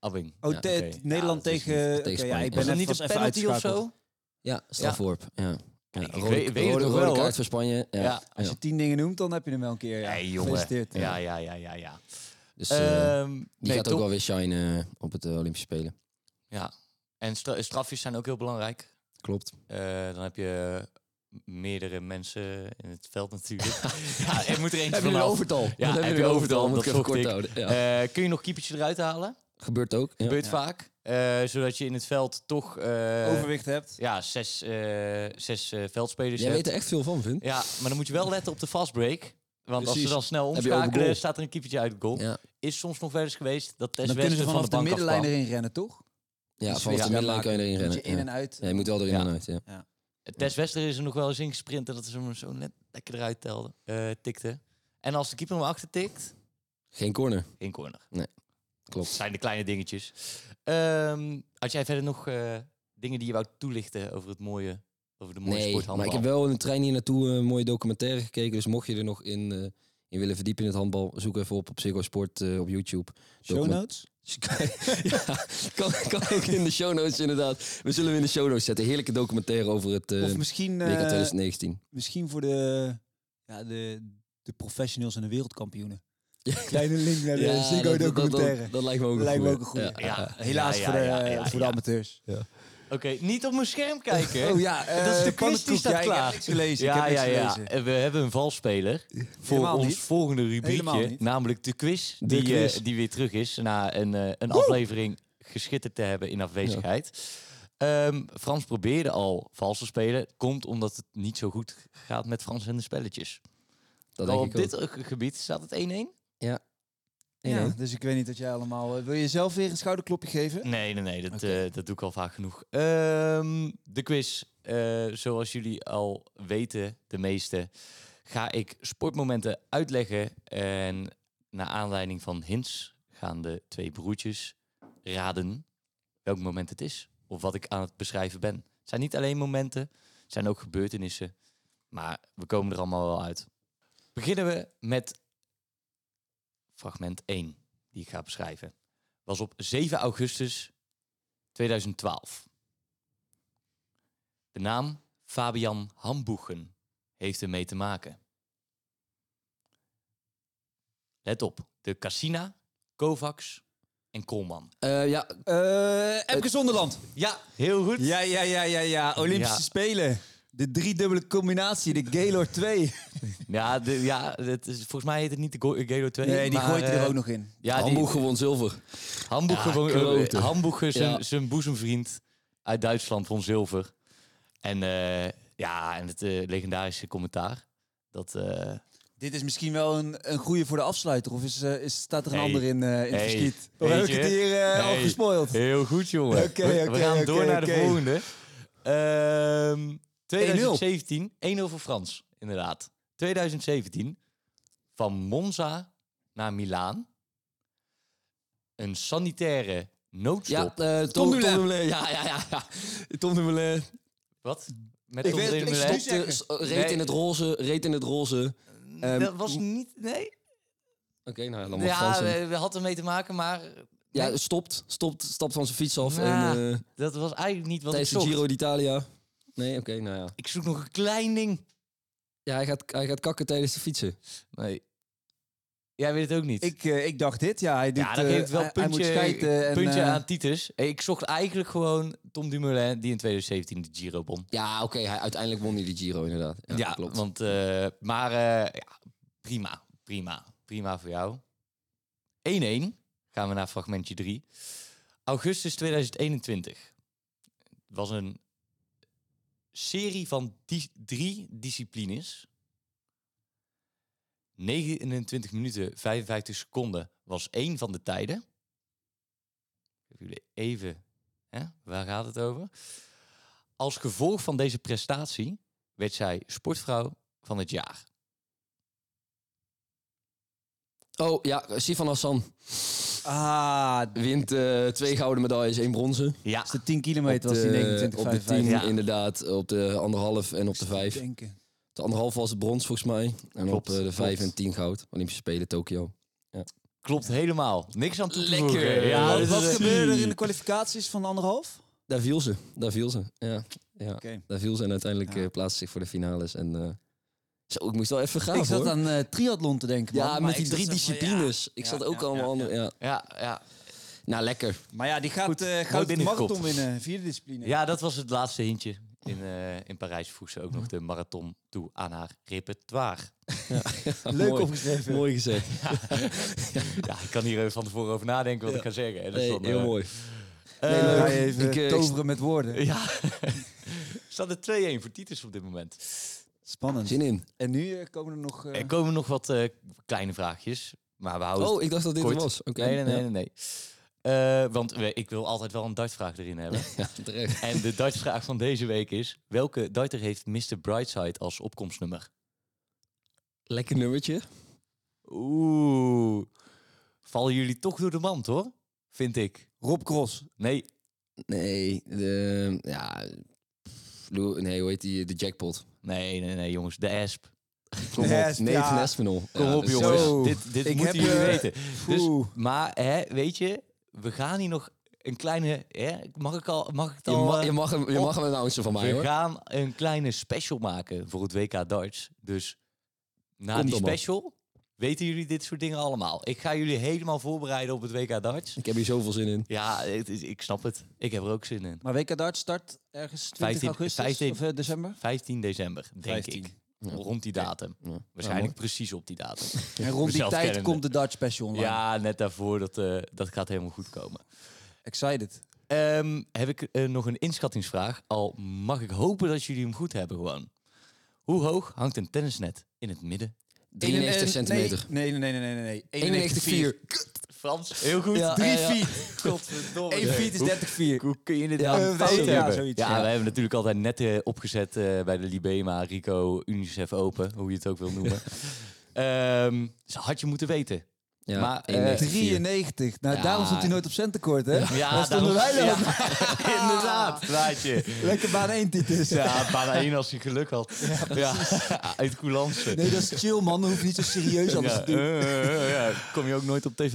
Speaker 2: Abbing.
Speaker 1: Oh,
Speaker 3: Ja,
Speaker 1: te-
Speaker 2: oké.
Speaker 1: Nederland
Speaker 2: Ja, dat is niet-
Speaker 1: tegen...
Speaker 3: tegen
Speaker 1: Oké, ja,
Speaker 3: Spanje.
Speaker 1: ik ben
Speaker 2: Was dat
Speaker 1: net
Speaker 2: niet
Speaker 1: vast
Speaker 2: een
Speaker 1: even
Speaker 2: penalty of
Speaker 1: uitgeschakeld.
Speaker 2: zo?
Speaker 3: Ja, strafworp. Ja. Ja.
Speaker 2: ik
Speaker 3: rode,
Speaker 2: weet- ik weet het
Speaker 3: rode,
Speaker 2: nog
Speaker 3: rode
Speaker 2: wel,
Speaker 3: kaart
Speaker 2: hoor.
Speaker 3: voor Spanje. Ja.
Speaker 2: Ja,
Speaker 1: Als je
Speaker 3: Ja.
Speaker 1: tien dingen noemt, dan heb je hem wel een keer. Ja,
Speaker 2: Nee, jongen.
Speaker 1: Gefeliciteerd.
Speaker 2: Ja, ja, ja, ja, ja.
Speaker 3: Dus eh,
Speaker 2: Ehm,
Speaker 3: die
Speaker 2: nee,
Speaker 3: gaat
Speaker 2: top.
Speaker 3: ook wel weer shine eh, op het eh, Olympische Spelen.
Speaker 2: Ja. En stra- strafjes zijn ook heel belangrijk.
Speaker 3: Klopt.
Speaker 2: Eh, dan heb je meerdere mensen in het veld natuurlijk. ja, er moet er eentje
Speaker 3: Heb je
Speaker 2: van
Speaker 3: een
Speaker 2: af.
Speaker 3: overtal?
Speaker 2: Ja,
Speaker 3: Dan
Speaker 2: heb
Speaker 3: heb
Speaker 2: je
Speaker 3: je
Speaker 2: een
Speaker 3: overtal.
Speaker 2: overtal,
Speaker 3: Moet ik
Speaker 2: dat
Speaker 3: even
Speaker 2: zocht
Speaker 3: kort
Speaker 2: ik.
Speaker 3: houden. Ja.
Speaker 2: Eh, kun je nog keepertje eruit halen?
Speaker 3: Gebeurt ook. Ja.
Speaker 2: Gebeurt vaak. Eh, zodat je in het veld toch eh,
Speaker 1: Overwicht hebt.
Speaker 2: ja, zes, eh, zes eh, veldspelers
Speaker 3: Jij
Speaker 2: hebt.
Speaker 3: weet er echt veel van, Vin.
Speaker 2: Ja, maar dan moet je wel letten op de fastbreak. Want als
Speaker 3: Precies.
Speaker 2: ze dan snel
Speaker 3: Heb je ook een
Speaker 2: omschakelen,
Speaker 3: goal?
Speaker 2: staat er een keepertje uit de goal.
Speaker 3: Ja.
Speaker 2: Is soms nog wel eens geweest dat Tess
Speaker 1: Dan kunnen ze
Speaker 2: Westen
Speaker 1: vanaf
Speaker 2: van de
Speaker 1: de,
Speaker 2: bank
Speaker 1: middenlijn
Speaker 2: afkwam.
Speaker 1: erin rennen, toch?
Speaker 3: Ja,
Speaker 1: Dus
Speaker 3: vanaf
Speaker 1: ja,
Speaker 3: de middenlijn kan je erin
Speaker 1: Moet
Speaker 3: rennen.
Speaker 1: je in en
Speaker 3: ja.
Speaker 1: uit.
Speaker 3: Ja, je moet wel erin
Speaker 2: Ja.
Speaker 3: en uit, ja.
Speaker 2: Tess Wester is er nog wel eens ingesprint en dat ze hem zo net lekker eruit telde, eh, tikte. En als de keeper hem achter tikt,
Speaker 3: Geen corner.
Speaker 2: in corner. Dat
Speaker 3: Klopt.
Speaker 2: zijn de kleine dingetjes. Ehm, had jij verder nog eh, dingen die je wou toelichten over het mooie, over de mooie
Speaker 3: Nee,
Speaker 2: sport
Speaker 3: maar ik
Speaker 2: handbal?
Speaker 3: heb wel in de trein hier naartoe een mooie documentaire gekeken. Dus mocht je er nog in, eh, in willen verdiepen in het handbal, zoek even op op Ziggo Sport eh, op YouTube.
Speaker 1: Show
Speaker 3: Document-
Speaker 1: notes?
Speaker 3: ja, kan, kan ook in de show notes inderdaad. We zullen hem in de show notes zetten. Heerlijke documentaire over het eh,
Speaker 1: Of misschien, eh,
Speaker 3: WK 2019.
Speaker 1: misschien voor de, ja, de, de professionals en de wereldkampioenen. Kleine link naar de
Speaker 3: Ja,
Speaker 1: Ziggo
Speaker 3: dat- dat- Dat,
Speaker 1: documentaire.
Speaker 3: dat, dat lijkt me ook
Speaker 1: Dat
Speaker 3: een
Speaker 1: lijkt me ook een
Speaker 3: goeie.
Speaker 1: goede.
Speaker 2: Ja, ja,
Speaker 1: Helaas
Speaker 2: ja,
Speaker 1: voor, de, eh,
Speaker 2: ja, ja, ja,
Speaker 1: voor de
Speaker 2: ja.
Speaker 1: amateurs.
Speaker 2: Oké, niet op mijn scherm kijken.
Speaker 1: Oh ja, eh,
Speaker 2: dat is de quiz die
Speaker 1: pannenkoek.
Speaker 2: staat
Speaker 1: Ja, ik heb
Speaker 2: klaar.
Speaker 1: niks gelezen. Ik
Speaker 2: Ja,
Speaker 1: heb niks
Speaker 2: ja, ja.
Speaker 1: gelezen.
Speaker 2: En We hebben een valspeler voor
Speaker 1: Helemaal
Speaker 2: ons
Speaker 1: niet.
Speaker 2: volgende
Speaker 1: Helemaal
Speaker 2: rubriekje.
Speaker 1: niet.
Speaker 2: Namelijk de quiz,
Speaker 3: De
Speaker 2: die, eh,
Speaker 3: quiz.
Speaker 2: die weer terug is na een, eh, een aflevering geschitterd te hebben in afwezigheid. Ehm, Frans probeerde al vals te spelen. Komt omdat het niet zo goed gaat met Frans en de spelletjes.
Speaker 3: Dat
Speaker 2: Al
Speaker 3: denk
Speaker 2: op
Speaker 3: ik ook.
Speaker 2: dit eh, gebied staat het 1-1.
Speaker 1: Ja,
Speaker 3: Ja.
Speaker 1: dus ik weet niet dat jij allemaal... eh, wil je zelf weer een schouderklopje geven?
Speaker 2: Nee, nee, nee, dat,
Speaker 1: Oké.
Speaker 2: eh, dat doe ik al vaak genoeg. Ehm, de quiz. Eh, zoals jullie al weten, de meeste, ga ik sportmomenten uitleggen. En naar aanleiding van hints gaan de twee broertjes raden welk moment het is. Of wat ik aan het beschrijven ben. Het zijn niet alleen momenten, het zijn ook gebeurtenissen. Maar we komen er allemaal wel uit. Beginnen we met fragment 1, die ik ga beschrijven was op 7 augustus 2012. De naam Fabian Hamboegen heeft ermee te maken. Let op, de Cassina, Kovacs en Koolman.
Speaker 3: Eh, ja,
Speaker 1: Eh, Epke Zonderland.
Speaker 2: Ja, heel goed.
Speaker 1: Ja, ja, ja, ja, ja. Olympische
Speaker 2: Ja.
Speaker 1: Spelen. De driedubbele combinatie, de Gaylord 2.
Speaker 2: Ja, de, ja het is, volgens mij heet het niet de Go- Gelo 2.
Speaker 1: Nee, die
Speaker 2: maar,
Speaker 1: gooit hij
Speaker 2: eh,
Speaker 1: er ook nog in.
Speaker 2: Ja, die-
Speaker 3: Hamburg won zilver.
Speaker 2: Hamburg,
Speaker 3: Ja,
Speaker 2: gewoon, eh,
Speaker 3: klote.
Speaker 2: Hamburg is
Speaker 3: Ja.
Speaker 2: zijn, zijn boezemvriend uit Duitsland van zilver. En eh, ja, en het eh, legendarische commentaar. Dat, eh,
Speaker 1: Dit is misschien wel een, een goede voor de afsluiter. Of is, eh, is, staat er een
Speaker 2: Hey.
Speaker 1: ander in, eh, in het
Speaker 2: Hey.
Speaker 1: verschiet? Of heb
Speaker 2: Weet
Speaker 1: ik het
Speaker 2: je?
Speaker 1: hier eh, al
Speaker 2: Hey.
Speaker 1: gespoild?
Speaker 2: heel goed, jongen.
Speaker 1: Oké,
Speaker 2: We-
Speaker 1: oké,
Speaker 2: We gaan
Speaker 1: oké,
Speaker 2: door naar
Speaker 1: oké.
Speaker 2: de volgende. Ehm 2017, 1-0 voor Frans, inderdaad. 2017, van Monza naar Milaan. Een sanitaire
Speaker 3: Ja,
Speaker 2: noodstop.
Speaker 3: eh, Tom,
Speaker 1: Tom Dumoulin.
Speaker 3: Dumoulin. Ja, ja, ja. ja. Tom Dumoulin.
Speaker 2: Wat? Met
Speaker 1: Ik
Speaker 2: Tom
Speaker 1: weet het, ik
Speaker 2: Dumoulin?
Speaker 1: stond-
Speaker 3: Stopte,
Speaker 1: zeggen.
Speaker 3: s- reed
Speaker 2: Nee.
Speaker 3: in het roze, reed in het roze. Oké, Ehm,
Speaker 2: Dat was niet... Nee,
Speaker 3: nou, laat maar
Speaker 2: Ja,
Speaker 3: Fransen.
Speaker 2: we, we had ermee te maken, maar
Speaker 3: Ja, stopt, stopt, stapt van zijn fiets af
Speaker 2: Ja.
Speaker 3: en eh,
Speaker 2: dat was eigenlijk niet wat ik
Speaker 3: tijdens de
Speaker 2: zocht.
Speaker 3: Giro d'Italia. Nee, oké, nou ja.
Speaker 2: Ik zoek nog een klein ding.
Speaker 3: Ja, hij gaat, hij gaat kakken tijdens de fietsen.
Speaker 2: Nee. Jij weet het ook niet.
Speaker 1: Ik, eh, ik dacht dit, ja. Hij doet,
Speaker 2: ja, dat
Speaker 1: eh,
Speaker 2: geeft wel
Speaker 1: hij- hij
Speaker 2: puntje,
Speaker 1: moet schijten en,
Speaker 2: puntje
Speaker 1: eh,
Speaker 2: aan Titus. Hey, Ik zocht eigenlijk gewoon Tom Dumoulin, die in 2017 de Giro won.
Speaker 3: Ja, oké, hij uiteindelijk won hij de Giro inderdaad. Ja,
Speaker 2: Ja,
Speaker 3: klopt.
Speaker 2: Want, eh, maar eh, ja, prima, prima, prima voor jou. 1-1. Gaan we naar fragmentje 3. Augustus 2021. Het was een serie van di- drie disciplines. 29 minuten 55 seconden was één van de tijden. Ik heb jullie even... Hè? Waar gaat het over? Als gevolg van deze prestatie werd zij sportvrouw van het jaar.
Speaker 3: Oh ja, Sifan Hassan
Speaker 1: Ah, dat
Speaker 3: wint eh, twee gouden medailles, één bronzen.
Speaker 2: Ja,
Speaker 1: is de 10 kilometer,
Speaker 3: Op
Speaker 1: was die
Speaker 3: de-
Speaker 1: 29,
Speaker 3: Op de
Speaker 1: 55.
Speaker 3: tien
Speaker 2: Ja.
Speaker 3: inderdaad, op de anderhalf en op de
Speaker 1: Ik zit
Speaker 3: vijf.
Speaker 1: te denken.
Speaker 3: De anderhalf was het brons volgens mij. En
Speaker 2: Klopt,
Speaker 3: op eh, de
Speaker 2: klopt.
Speaker 3: vijf en tien goud. Olympische Spelen, Tokio.
Speaker 2: Klopt helemaal. Niks aan toe te
Speaker 3: Lekker.
Speaker 2: voegen. Ja,
Speaker 3: Wat-
Speaker 2: dat
Speaker 1: Wat,
Speaker 2: is,
Speaker 1: wat
Speaker 2: eh,
Speaker 1: gebeurde er in de kwalificaties van anderhalf?
Speaker 3: Daar viel ze. Daar viel ze. Ja, ja.
Speaker 1: Oké.
Speaker 3: daar viel ze. En uiteindelijk
Speaker 1: Ja.
Speaker 3: eh, plaatste ze zich voor de finales. En eh, zo, ik moest wel even gaan
Speaker 1: ik zat
Speaker 3: hoor.
Speaker 1: aan eh triathlon te denken. man,
Speaker 3: ja,
Speaker 1: maar
Speaker 3: met
Speaker 1: ik
Speaker 3: die
Speaker 1: zat
Speaker 3: drie
Speaker 1: zo van, ja.
Speaker 3: disciplines. ik
Speaker 1: ja,
Speaker 3: zat ook
Speaker 1: ja,
Speaker 3: allemaal
Speaker 1: ja,
Speaker 3: andere. Ja.
Speaker 2: Ja, ja.
Speaker 3: Nou, lekker.
Speaker 1: Maar ja, die gaat, eh
Speaker 2: mooi
Speaker 1: gaat de
Speaker 2: binnengekopt.
Speaker 1: marathon winnen. Vierde discipline.
Speaker 2: ja, dat was het laatste hintje. In, eh, in Parijs voeg ze ook nog de marathon toe aan haar repertoire.
Speaker 1: Leuk
Speaker 3: Mooi.
Speaker 1: opgeschreven.
Speaker 3: Mooi gezegd.
Speaker 2: Ja, ik kan hier even van tevoren over nadenken wat ik ga zeggen. En dat is
Speaker 3: Nee,
Speaker 2: dan,
Speaker 3: heel
Speaker 2: eh,
Speaker 3: mooi.
Speaker 2: eh,
Speaker 1: Nee,
Speaker 3: leuk.
Speaker 1: ga je even
Speaker 3: Ik, eh, ik-
Speaker 1: toveren met woorden.
Speaker 2: ja. Staat er 2-1 voor Titus op dit moment.
Speaker 1: Spannend.
Speaker 3: Zin in.
Speaker 1: En nu eh, komen er nog... eh,
Speaker 2: Er komen nog wat eh, kleine vraagjes. Maar we houden het
Speaker 3: Oh, ik dacht dat dit
Speaker 2: kort.
Speaker 3: het was. Oké.
Speaker 2: Nee, nee, nee.
Speaker 3: Ja.
Speaker 2: nee, nee. Eh, want we- ik wil altijd wel een dartvraag erin hebben.
Speaker 3: Ja, terecht.
Speaker 2: en de dartvraag van deze week is... Welke darter heeft Mr. Brightside als opkomstnummer?
Speaker 3: Lekker nummertje.
Speaker 2: Oeh. Vallen jullie toch door de mand, hoor. Vind ik.
Speaker 1: Rob Cross.
Speaker 2: Nee.
Speaker 3: Nee, de, ja, pff, Lou- nee, hoe heet die? De jackpot.
Speaker 2: Nee, nee, nee, jongens. De Asp.
Speaker 3: Kom
Speaker 1: Ja,
Speaker 3: op, nee,
Speaker 1: ja.
Speaker 3: van Espinol.
Speaker 2: Kom
Speaker 3: Ja,
Speaker 2: op,
Speaker 3: dus-
Speaker 2: jongens.
Speaker 1: Zo.
Speaker 2: Dit, dit
Speaker 1: Ik
Speaker 2: moeten
Speaker 1: heb,
Speaker 2: jullie
Speaker 1: eh,
Speaker 2: weten. Dus,
Speaker 1: Oeh.
Speaker 2: maar, hè, weet je... We gaan hier nog een kleine... Hè, mag ik al... Mag ik het
Speaker 3: Je,
Speaker 2: al...
Speaker 3: ma
Speaker 2: eh,
Speaker 3: je mag hem, je
Speaker 2: op-
Speaker 3: mag hem announcen van mij,
Speaker 2: We
Speaker 3: hoor.
Speaker 2: gaan een kleine special maken voor het WK Darts. Dus na
Speaker 3: Kom
Speaker 2: die
Speaker 3: dan maar.
Speaker 2: special weten jullie dit soort dingen allemaal. Ik ga jullie helemaal voorbereiden op het WK Darts.
Speaker 3: Ik heb hier zoveel zin in.
Speaker 2: Ja, het is- ik snap het. Ik heb er ook zin in.
Speaker 1: Maar WK Dart start ergens 20
Speaker 2: 15
Speaker 1: augustus
Speaker 2: 15
Speaker 1: of eh, december.
Speaker 2: 15 december, denk
Speaker 1: 15.
Speaker 2: ik.
Speaker 3: Ja.
Speaker 2: Rond die datum.
Speaker 3: Ja.
Speaker 2: Waarschijnlijk precies op die datum.
Speaker 1: En rond die
Speaker 2: Mezelf
Speaker 1: tijd
Speaker 2: kennende.
Speaker 1: komt de Dart Special online.
Speaker 2: Ja, net daarvoor. Dat, eh, dat gaat helemaal goed komen.
Speaker 1: Excited.
Speaker 2: Ehm, heb ik eh, nog een inschattingsvraag. Al mag ik hopen dat jullie hem goed hebben gewoon. Hoe hoog hangt een tennisnet in het midden?
Speaker 3: 93
Speaker 1: Nee,
Speaker 3: centimeter.
Speaker 1: Nee, nee, nee, nee, nee. nee.
Speaker 3: 91 vier.
Speaker 2: Frans, heel goed.
Speaker 3: Ja,
Speaker 2: Drie
Speaker 3: ja, ja.
Speaker 2: feet. Godverdomme.
Speaker 1: 1 feet is 30 vier.
Speaker 2: Hoe kun je dit
Speaker 1: Ja,
Speaker 2: nou
Speaker 1: we
Speaker 2: fout
Speaker 1: weten,
Speaker 2: hebben?
Speaker 1: ja, zoiets,
Speaker 2: Ja,
Speaker 1: ja.
Speaker 2: we hebben natuurlijk altijd net eh, opgezet eh, bij de Libema, Rico, Unicef Open, hoe je het ook wil noemen. Ehm, dus had je moeten weten.
Speaker 3: Ja,
Speaker 2: Maar, eh,
Speaker 3: 91 vier.
Speaker 1: 93. Nou,
Speaker 2: Ja.
Speaker 1: daarom stond hij nooit op centenkort, hè? Daar stonden
Speaker 2: daarom-
Speaker 1: wij dan.
Speaker 2: Ja, inderdaad, plaatje.
Speaker 1: Lekker baan 1 titus.
Speaker 2: Ja, bijna één als hij geluk had. Ja, uit coulance.
Speaker 1: Nee, dat is chill, man. Dat hoeft niet zo serieus anders
Speaker 2: ja,
Speaker 1: te doen.
Speaker 2: eh, eh, eh, ja, kom je ook nooit op tv.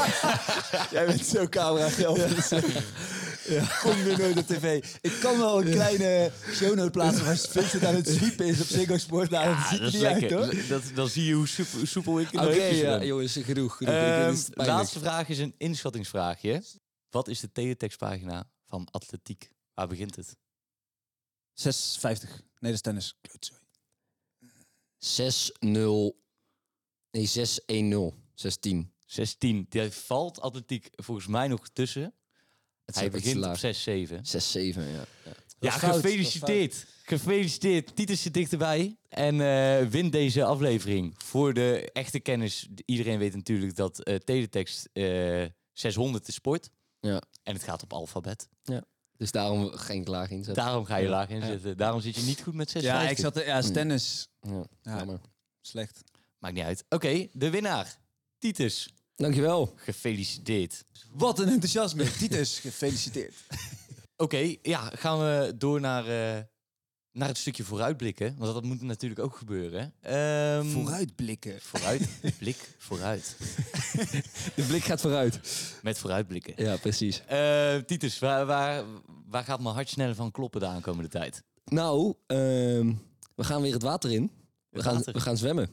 Speaker 1: Jij bent zo camera geld. Kom nu nooit op tv. Ik kan wel een kleine shownote plaatsen waar Vincent aan het zwiepen is op Ziggo Sport. Nou, dat
Speaker 2: Ja,
Speaker 1: ziet
Speaker 2: dat
Speaker 1: er
Speaker 2: is
Speaker 1: niet uit, hoor.
Speaker 2: lekker. Dat, dan zie je hoe soepel, hoe soepel ik in de
Speaker 3: Oké,
Speaker 2: heupjes
Speaker 3: ja,
Speaker 2: ben.
Speaker 3: jongens, genoeg. genoeg.
Speaker 2: Ehm,
Speaker 3: Dit is
Speaker 2: de
Speaker 3: pijnlijk.
Speaker 2: laatste vraag is een inschattingsvraagje. Wat is de teletextpagina van Atletiek? Waar begint het?
Speaker 1: 56. Nee, dat is tennis.
Speaker 3: 6-0. Nee, 6-1-0. 16.
Speaker 2: 16. Daar valt Atletiek volgens mij nog tussen.
Speaker 3: Het
Speaker 2: Hij begint op 6-7.
Speaker 3: 6-7, ja. ja.
Speaker 2: Ja,
Speaker 1: fout, dat is
Speaker 2: gefeliciteerd. Gefeliciteerd. Titus zit dichterbij. En eh, win deze aflevering. Voor de echte kennis. Iedereen weet natuurlijk dat eh teletext eh, 600 is sport.
Speaker 3: Ja.
Speaker 2: En het gaat op alfabet.
Speaker 3: Dus daarom geen klaag inzetten.
Speaker 2: Daarom ga je
Speaker 3: Ja.
Speaker 2: laag inzetten. Daarom zit je niet goed met 6
Speaker 1: Ja, ik zat er, ja,
Speaker 2: Hmm.
Speaker 1: is tennis.
Speaker 3: Ja,
Speaker 1: Ja.
Speaker 3: jammer.
Speaker 1: Slecht.
Speaker 2: Maakt niet uit. Oké, de winnaar. Titus,
Speaker 3: Dankjewel.
Speaker 2: gefeliciteerd.
Speaker 1: Wat een enthousiasme. Titus, gefeliciteerd.
Speaker 2: Oké, ja, gaan we door naar, eh, naar het stukje vooruitblikken. Want dat moet natuurlijk ook gebeuren. hè.
Speaker 3: Mm.
Speaker 2: Ehm,
Speaker 1: Vooruitblikken.
Speaker 2: Vooruit, blik vooruit.
Speaker 3: De blik gaat vooruit.
Speaker 2: Met vooruitblikken.
Speaker 3: Ja, precies.
Speaker 2: Eh, Titus, waar, waar, waar gaat mijn hart sneller van kloppen de aankomende tijd?
Speaker 3: Nou, ehm, we gaan weer het water in. We
Speaker 2: Het
Speaker 3: gaan,
Speaker 2: water.
Speaker 3: we gaan zwemmen.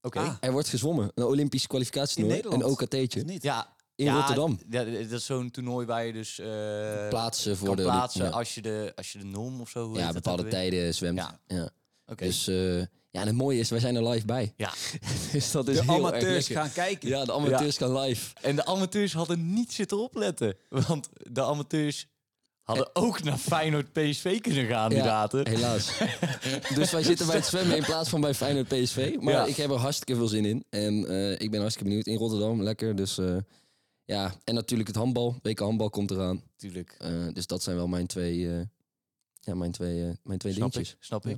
Speaker 2: Oké.
Speaker 1: Ah.
Speaker 3: Er wordt gezwommen. Een Olympische
Speaker 1: In
Speaker 3: kwalificatietoernooi. Een
Speaker 1: Nederland?
Speaker 3: OKT'tje.
Speaker 1: Niet?
Speaker 2: Ja,
Speaker 3: In
Speaker 2: ja,
Speaker 3: Rotterdam.
Speaker 2: Ja, dat is zo'n toernooi waar je dus eh,
Speaker 3: Plaatsen voor
Speaker 2: kan
Speaker 3: de...
Speaker 2: plaatsen
Speaker 3: ja.
Speaker 2: als, je de, als je de norm of zo... hoe
Speaker 3: Ja,
Speaker 2: heet dat
Speaker 3: bepaalde
Speaker 2: ook weer?
Speaker 3: tijden zwemt.
Speaker 2: Ja.
Speaker 3: Ja.
Speaker 2: Oké.
Speaker 3: Dus eh, ja, en het mooie is, wij zijn er live bij.
Speaker 2: Ja.
Speaker 3: dus dat is
Speaker 1: De
Speaker 3: heel erg
Speaker 1: amateurs
Speaker 3: lekker.
Speaker 1: gaan kijken.
Speaker 3: Ja, de amateurs gaan live.
Speaker 2: En de amateurs hadden niet zitten opletten. Want de amateurs hadden ook naar Feyenoord PSV kunnen gaan, die
Speaker 3: Ja,
Speaker 2: daten.
Speaker 3: Helaas. dus wij zitten bij het zwemmen in plaats van bij Feyenoord PSV. Maar
Speaker 2: Ja.
Speaker 3: ik heb er hartstikke veel zin in. En eh, ik ben hartstikke benieuwd. In Rotterdam, lekker. Dus eh, ja, en natuurlijk het handbal. WK handbal komt eraan.
Speaker 2: Natuurlijk.
Speaker 3: Eh, dus dat zijn wel mijn twee, eh, ja, mijn twee, eh, mijn twee
Speaker 2: Snap
Speaker 3: dingetjes.
Speaker 2: ik, snap
Speaker 3: Ja.
Speaker 2: ik.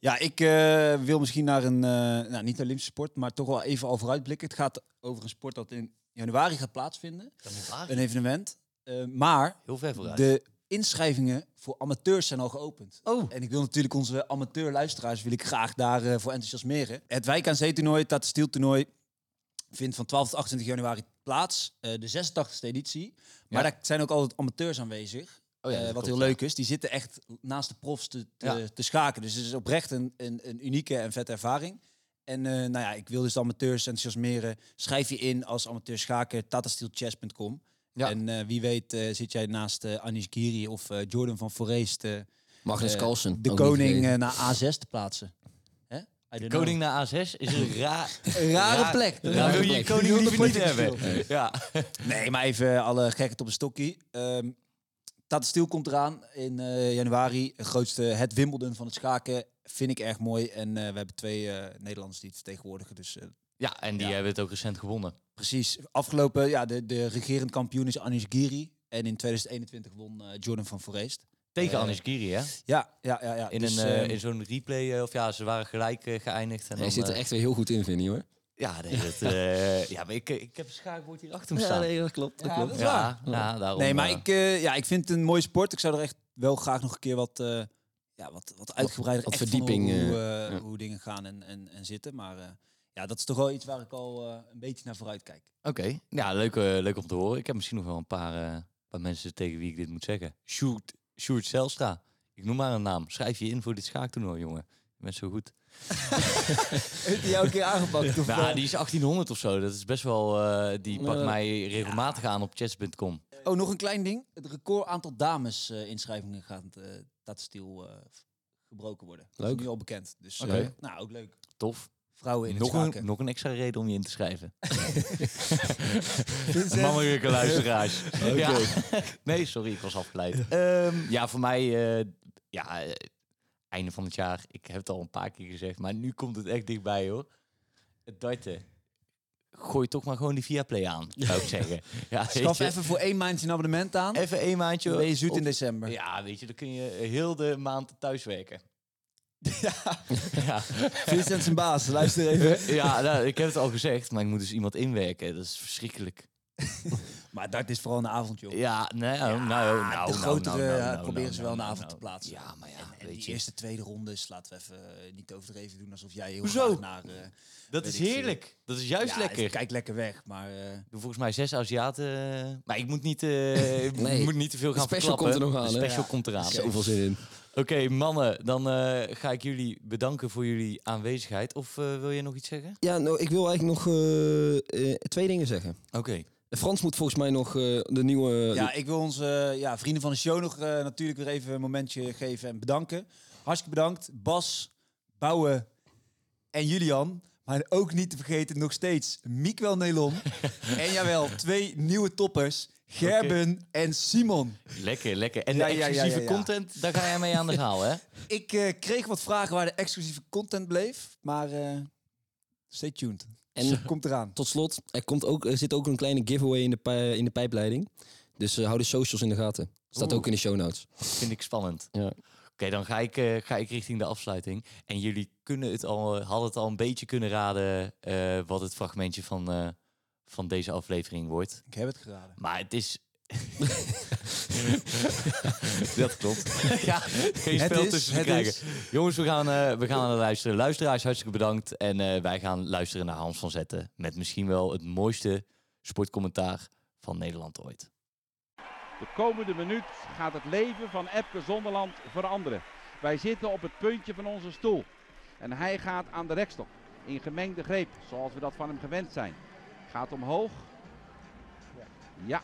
Speaker 1: Ja, ik eh, wil misschien naar een, eh, nou niet Olympische sport, maar toch wel even al vooruitblikken. Het gaat over een sport dat in januari gaat plaatsvinden.
Speaker 2: Dan moet Arie
Speaker 1: Een evenement. Eh, maar
Speaker 2: heel ver vooruit.
Speaker 1: de inschrijvingen voor amateurs zijn al geopend.
Speaker 2: Oh.
Speaker 1: En ik wil natuurlijk onze amateurluisteraars wil ik graag daarvoor voor enthousiasmeren. Het Wijk aan Zee toernooi, het Tata toernooi, vindt van 12 tot 28 januari plaats. Eh, de 86e editie. Maar
Speaker 2: Ja.
Speaker 1: daar zijn ook altijd amateurs aanwezig.
Speaker 2: Oh ja,
Speaker 1: Eh,
Speaker 2: dat
Speaker 1: wat
Speaker 2: klopt,
Speaker 1: heel
Speaker 2: ja.
Speaker 1: leuk is. Die zitten echt naast de profs te, te,
Speaker 2: Ja.
Speaker 1: te schaken. Dus het is oprecht een, een, een unieke en vette ervaring. En eh, nou ja, ik wil dus de amateurs enthousiasmeren. Schrijf je in als amateur schaker tatasteelchess.com.
Speaker 2: Ja.
Speaker 1: En eh, wie weet eh, zit jij naast eh Anish Giri of eh, Jordan van Foreest... eh,
Speaker 3: Magnus
Speaker 1: eh,
Speaker 3: Carlsen.
Speaker 1: de
Speaker 3: ook
Speaker 1: koning
Speaker 3: niet
Speaker 1: eh, naar A6 te plaatsen. Hè? I don't know.
Speaker 2: Koning naar A6 is een raar...
Speaker 1: Een rare
Speaker 2: raar-
Speaker 1: plek.
Speaker 2: Daar
Speaker 1: Een rare
Speaker 2: wil je je
Speaker 1: plek.
Speaker 2: koning liever niet
Speaker 1: Honderden
Speaker 2: hebben.
Speaker 1: punten
Speaker 2: Ja.
Speaker 1: Nee, maar even eh, alle gekheid op een stokje. Ehm Tata Steel komt eraan in eh, januari. Het grootste, het Wimbledon van het schaken. Vind ik erg mooi. En eh, we hebben twee eh, Nederlanders die het vertegenwoordigen. Dus eh,
Speaker 2: ja, en die
Speaker 1: Ja.
Speaker 2: hebben het ook recent gewonnen.
Speaker 1: precies. Afgelopen, ja, de, de regerend kampioen is Anish Giri. En in 2021 won eh, Jordan van Foreest.
Speaker 2: Tegen
Speaker 1: Eh,
Speaker 2: Anish Giri, hè?
Speaker 1: Ja, ja, ja. ja.
Speaker 2: In,
Speaker 1: Dus,
Speaker 2: een, eh,
Speaker 1: ehm,
Speaker 2: in zo'n replay, eh, of ja, ze waren gelijk eh, geëindigd. En
Speaker 3: Hij
Speaker 2: dan,
Speaker 3: zit er
Speaker 2: eh,
Speaker 3: echt weer heel goed in, vind je hoor.
Speaker 2: Ja, nee, dat, eh, ja maar ik, ik heb een schaakbord hier achter me staan. Ja,
Speaker 3: dat klopt.
Speaker 1: Ja, dat is waar.
Speaker 2: ja, daarom.
Speaker 1: Nee, maar
Speaker 2: eh,
Speaker 1: ik, eh, ja, ik vind het een mooie sport. Ik zou er echt wel graag nog een keer wat, eh, ja, wat, wat uitgebreider
Speaker 3: wat
Speaker 1: echt van
Speaker 3: verdieping,
Speaker 1: horen hoe, eh,
Speaker 3: ja.
Speaker 1: hoe dingen gaan en, en, en zitten. Maar eh, ja, dat is toch wel iets waar ik al eh, een beetje naar vooruit kijk.
Speaker 2: Oké, ja, leuk, eh, leuk om te horen. Ik heb misschien nog wel een paar, eh, paar mensen tegen wie ik dit moet zeggen. Sjoerd, Sjoerd Zelstra. Ik noem maar een naam. Schrijf je in voor dit schaaktoernooi, jongen. Je bent zo goed.
Speaker 1: Heeft hij jou een keer aangepakt? Of,
Speaker 2: Nou,
Speaker 1: eh,
Speaker 2: die is 1800 of zo. Dat is best wel... eh, die pakt
Speaker 3: Eh,
Speaker 2: mij regelmatig aan op chess.com.
Speaker 1: Oh, nog een klein ding. Het record aantal dames eh, inschrijvingen gaat eh dat stil eh, gebroken worden. Dat
Speaker 3: Leuk.
Speaker 1: is nu al bekend. Dus eh,
Speaker 2: Oké.
Speaker 1: nou, ook leuk.
Speaker 2: Tof.
Speaker 1: Vrouwen in het
Speaker 2: Nog
Speaker 1: schaken.
Speaker 2: een, nog een extra reden om je in te schrijven.
Speaker 1: Vincent?
Speaker 2: Mannelijke luisteraars. ja. Nee, sorry, ik was afgeleid. Ehm, ja, voor mij, eh, ja, eh, einde van het jaar. Ik heb het al een paar keer gezegd, maar nu komt het echt dichtbij hoor. Het darten. Gooi toch maar gewoon die Viaplay aan, zou ik zeggen. Ja, weet
Speaker 1: Schaf
Speaker 2: je.
Speaker 1: even voor één maandje een abonnement aan. Dan
Speaker 2: even een maandje.
Speaker 1: ben je zoet
Speaker 2: op-
Speaker 1: in december.
Speaker 2: Ja, weet je, dan kun je heel de maand thuiswerken. Ja,
Speaker 1: Vincent zijn baas, luister even.
Speaker 2: ja. ja nou, ik heb het al gezegd, maar ik moet dus iemand inwerken. Dat is verschrikkelijk.
Speaker 1: Maar dat is vooral een avond, joh.
Speaker 2: Ja, nee, nou, nou, nou,
Speaker 1: de
Speaker 2: nou,
Speaker 1: grotere
Speaker 2: nou, nou,
Speaker 1: eh,
Speaker 2: nou,
Speaker 1: proberen
Speaker 2: nou,
Speaker 1: ze wel een
Speaker 2: nou,
Speaker 1: avond
Speaker 2: nou.
Speaker 1: te plaatsen.
Speaker 2: Ja, maar ja,
Speaker 1: en, en
Speaker 2: weet
Speaker 1: die
Speaker 2: je.
Speaker 1: eerste, tweede ronde is, laten we even eh, niet overdreven doen alsof jij heel
Speaker 2: Hoezo?
Speaker 1: graag naar... eh,
Speaker 2: Dat
Speaker 1: weet
Speaker 2: is
Speaker 1: ik veel.
Speaker 2: heerlijk. Dat is juist
Speaker 1: ja,
Speaker 2: lekker.
Speaker 1: het Kijk lekker weg, maar... eh,
Speaker 2: Ik doe volgens mij zes Aziaten. eh, Maar ik moet niet, eh, ik
Speaker 3: Nee,
Speaker 2: moet niet te veel
Speaker 3: de
Speaker 2: gaan
Speaker 3: special
Speaker 2: verklappen.
Speaker 3: komt er nog aan,
Speaker 2: De
Speaker 3: hè?
Speaker 2: special
Speaker 1: Ja.
Speaker 2: komt eraan. Oké,
Speaker 3: Zoveel zin in.
Speaker 2: mannen. Dan eh, ga ik jullie bedanken voor jullie aanwezigheid. Of eh, wil je nog iets zeggen?
Speaker 3: Ja, nou, ik wil eigenlijk nog eh, eh, twee dingen zeggen.
Speaker 2: Oké.
Speaker 3: Frans moet volgens mij nog eh, de nieuwe...
Speaker 1: Ja, ik wil onze eh, ja, vrienden van de show nog eh, natuurlijk weer even een momentje geven en bedanken. Hartstikke bedankt. Bas, Bouwe en Julian. Maar ook niet te vergeten nog steeds Miquel Nelon. en jawel, twee nieuwe toppers. Gerben en Simon.
Speaker 2: Lekker, lekker. En
Speaker 1: Ja,
Speaker 2: de
Speaker 1: ja, ja,
Speaker 2: exclusieve
Speaker 1: ja, ja.
Speaker 2: content, daar ga jij mee aan de haal, hè?
Speaker 1: Ik eh, kreeg wat vragen waar de exclusieve content bleef. Maar eh, stay tuned.
Speaker 3: En-
Speaker 1: komt eraan.
Speaker 3: Tot slot, er, komt ook, er zit ook een kleine giveaway in de, pij- in de pijpleiding. Dus eh, hou de socials in de gaten. Staat
Speaker 2: Oeh.
Speaker 3: ook in de show notes.
Speaker 2: Vind ik spannend.
Speaker 3: Ja.
Speaker 2: Oké, dan ga ik, eh, ga ik richting de afsluiting. En jullie kunnen het al, eh, hadden het al een beetje kunnen raden eh, wat het fragmentje van, eh, van deze aflevering wordt.
Speaker 1: Ik heb het geraden.
Speaker 2: Maar het is. dat klopt. ja, geen
Speaker 1: Het
Speaker 2: spel
Speaker 1: is,
Speaker 2: tussen te
Speaker 1: het
Speaker 2: krijgen.
Speaker 1: is.
Speaker 2: Jongens, we gaan, eh, we gaan aan het luisteren. Luisteraars, hartstikke bedankt. En eh, wij gaan luisteren naar Hans van Zetten. Met misschien wel het mooiste sportcommentaar van Nederland ooit.
Speaker 5: De komende minuut gaat het leven van Epke Zonderland veranderen. Wij zitten op het puntje van onze stoel. En hij gaat aan de rekstok. In gemengde greep, zoals we dat van hem gewend zijn. Gaat omhoog. Ja.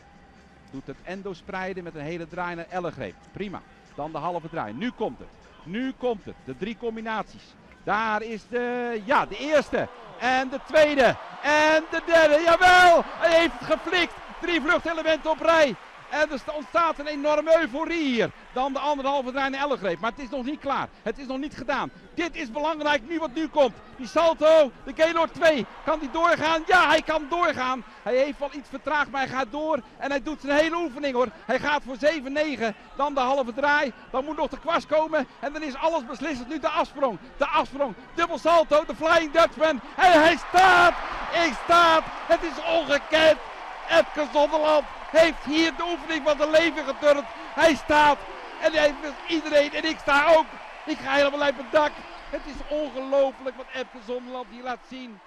Speaker 5: Doet het endo spreiden met een hele draai naar ellegreep. Prima. Dan de halve draai. Nu komt het. Nu komt het. De drie combinaties. Daar is de... Ja, de eerste. En de tweede. En de derde. Jawel! Hij heeft het geflikt. Drie vluchtelementen op rij. En er sta- ontstaat een enorme euforie hier. Dan de anderhalve draai naar Ellegreep. Maar het is nog niet klaar. Het is nog niet gedaan. Dit is belangrijk nu wat nu komt. Die salto, de Gaylord 2. Kan die doorgaan? Ja, hij kan doorgaan. Hij heeft wel iets vertraagd, maar hij gaat door. En hij doet zijn hele oefening hoor. Hij gaat voor 7-9. Dan de halve draai. Dan moet nog de kwast komen. En dan is alles beslissend. Nu de afsprong. De afsprong. Dubbel salto. De Flying Dutchman. En hij staat. Hij staat. Het is ongekend. Epke Zonderland heeft hier de oefening van zijn leven geturnd. Hij staat en hij heeft dus iedereen en ik sta ook. Ik ga helemaal uit mijn dak. Het is ongelooflijk wat Epke Zonderland hier laat zien.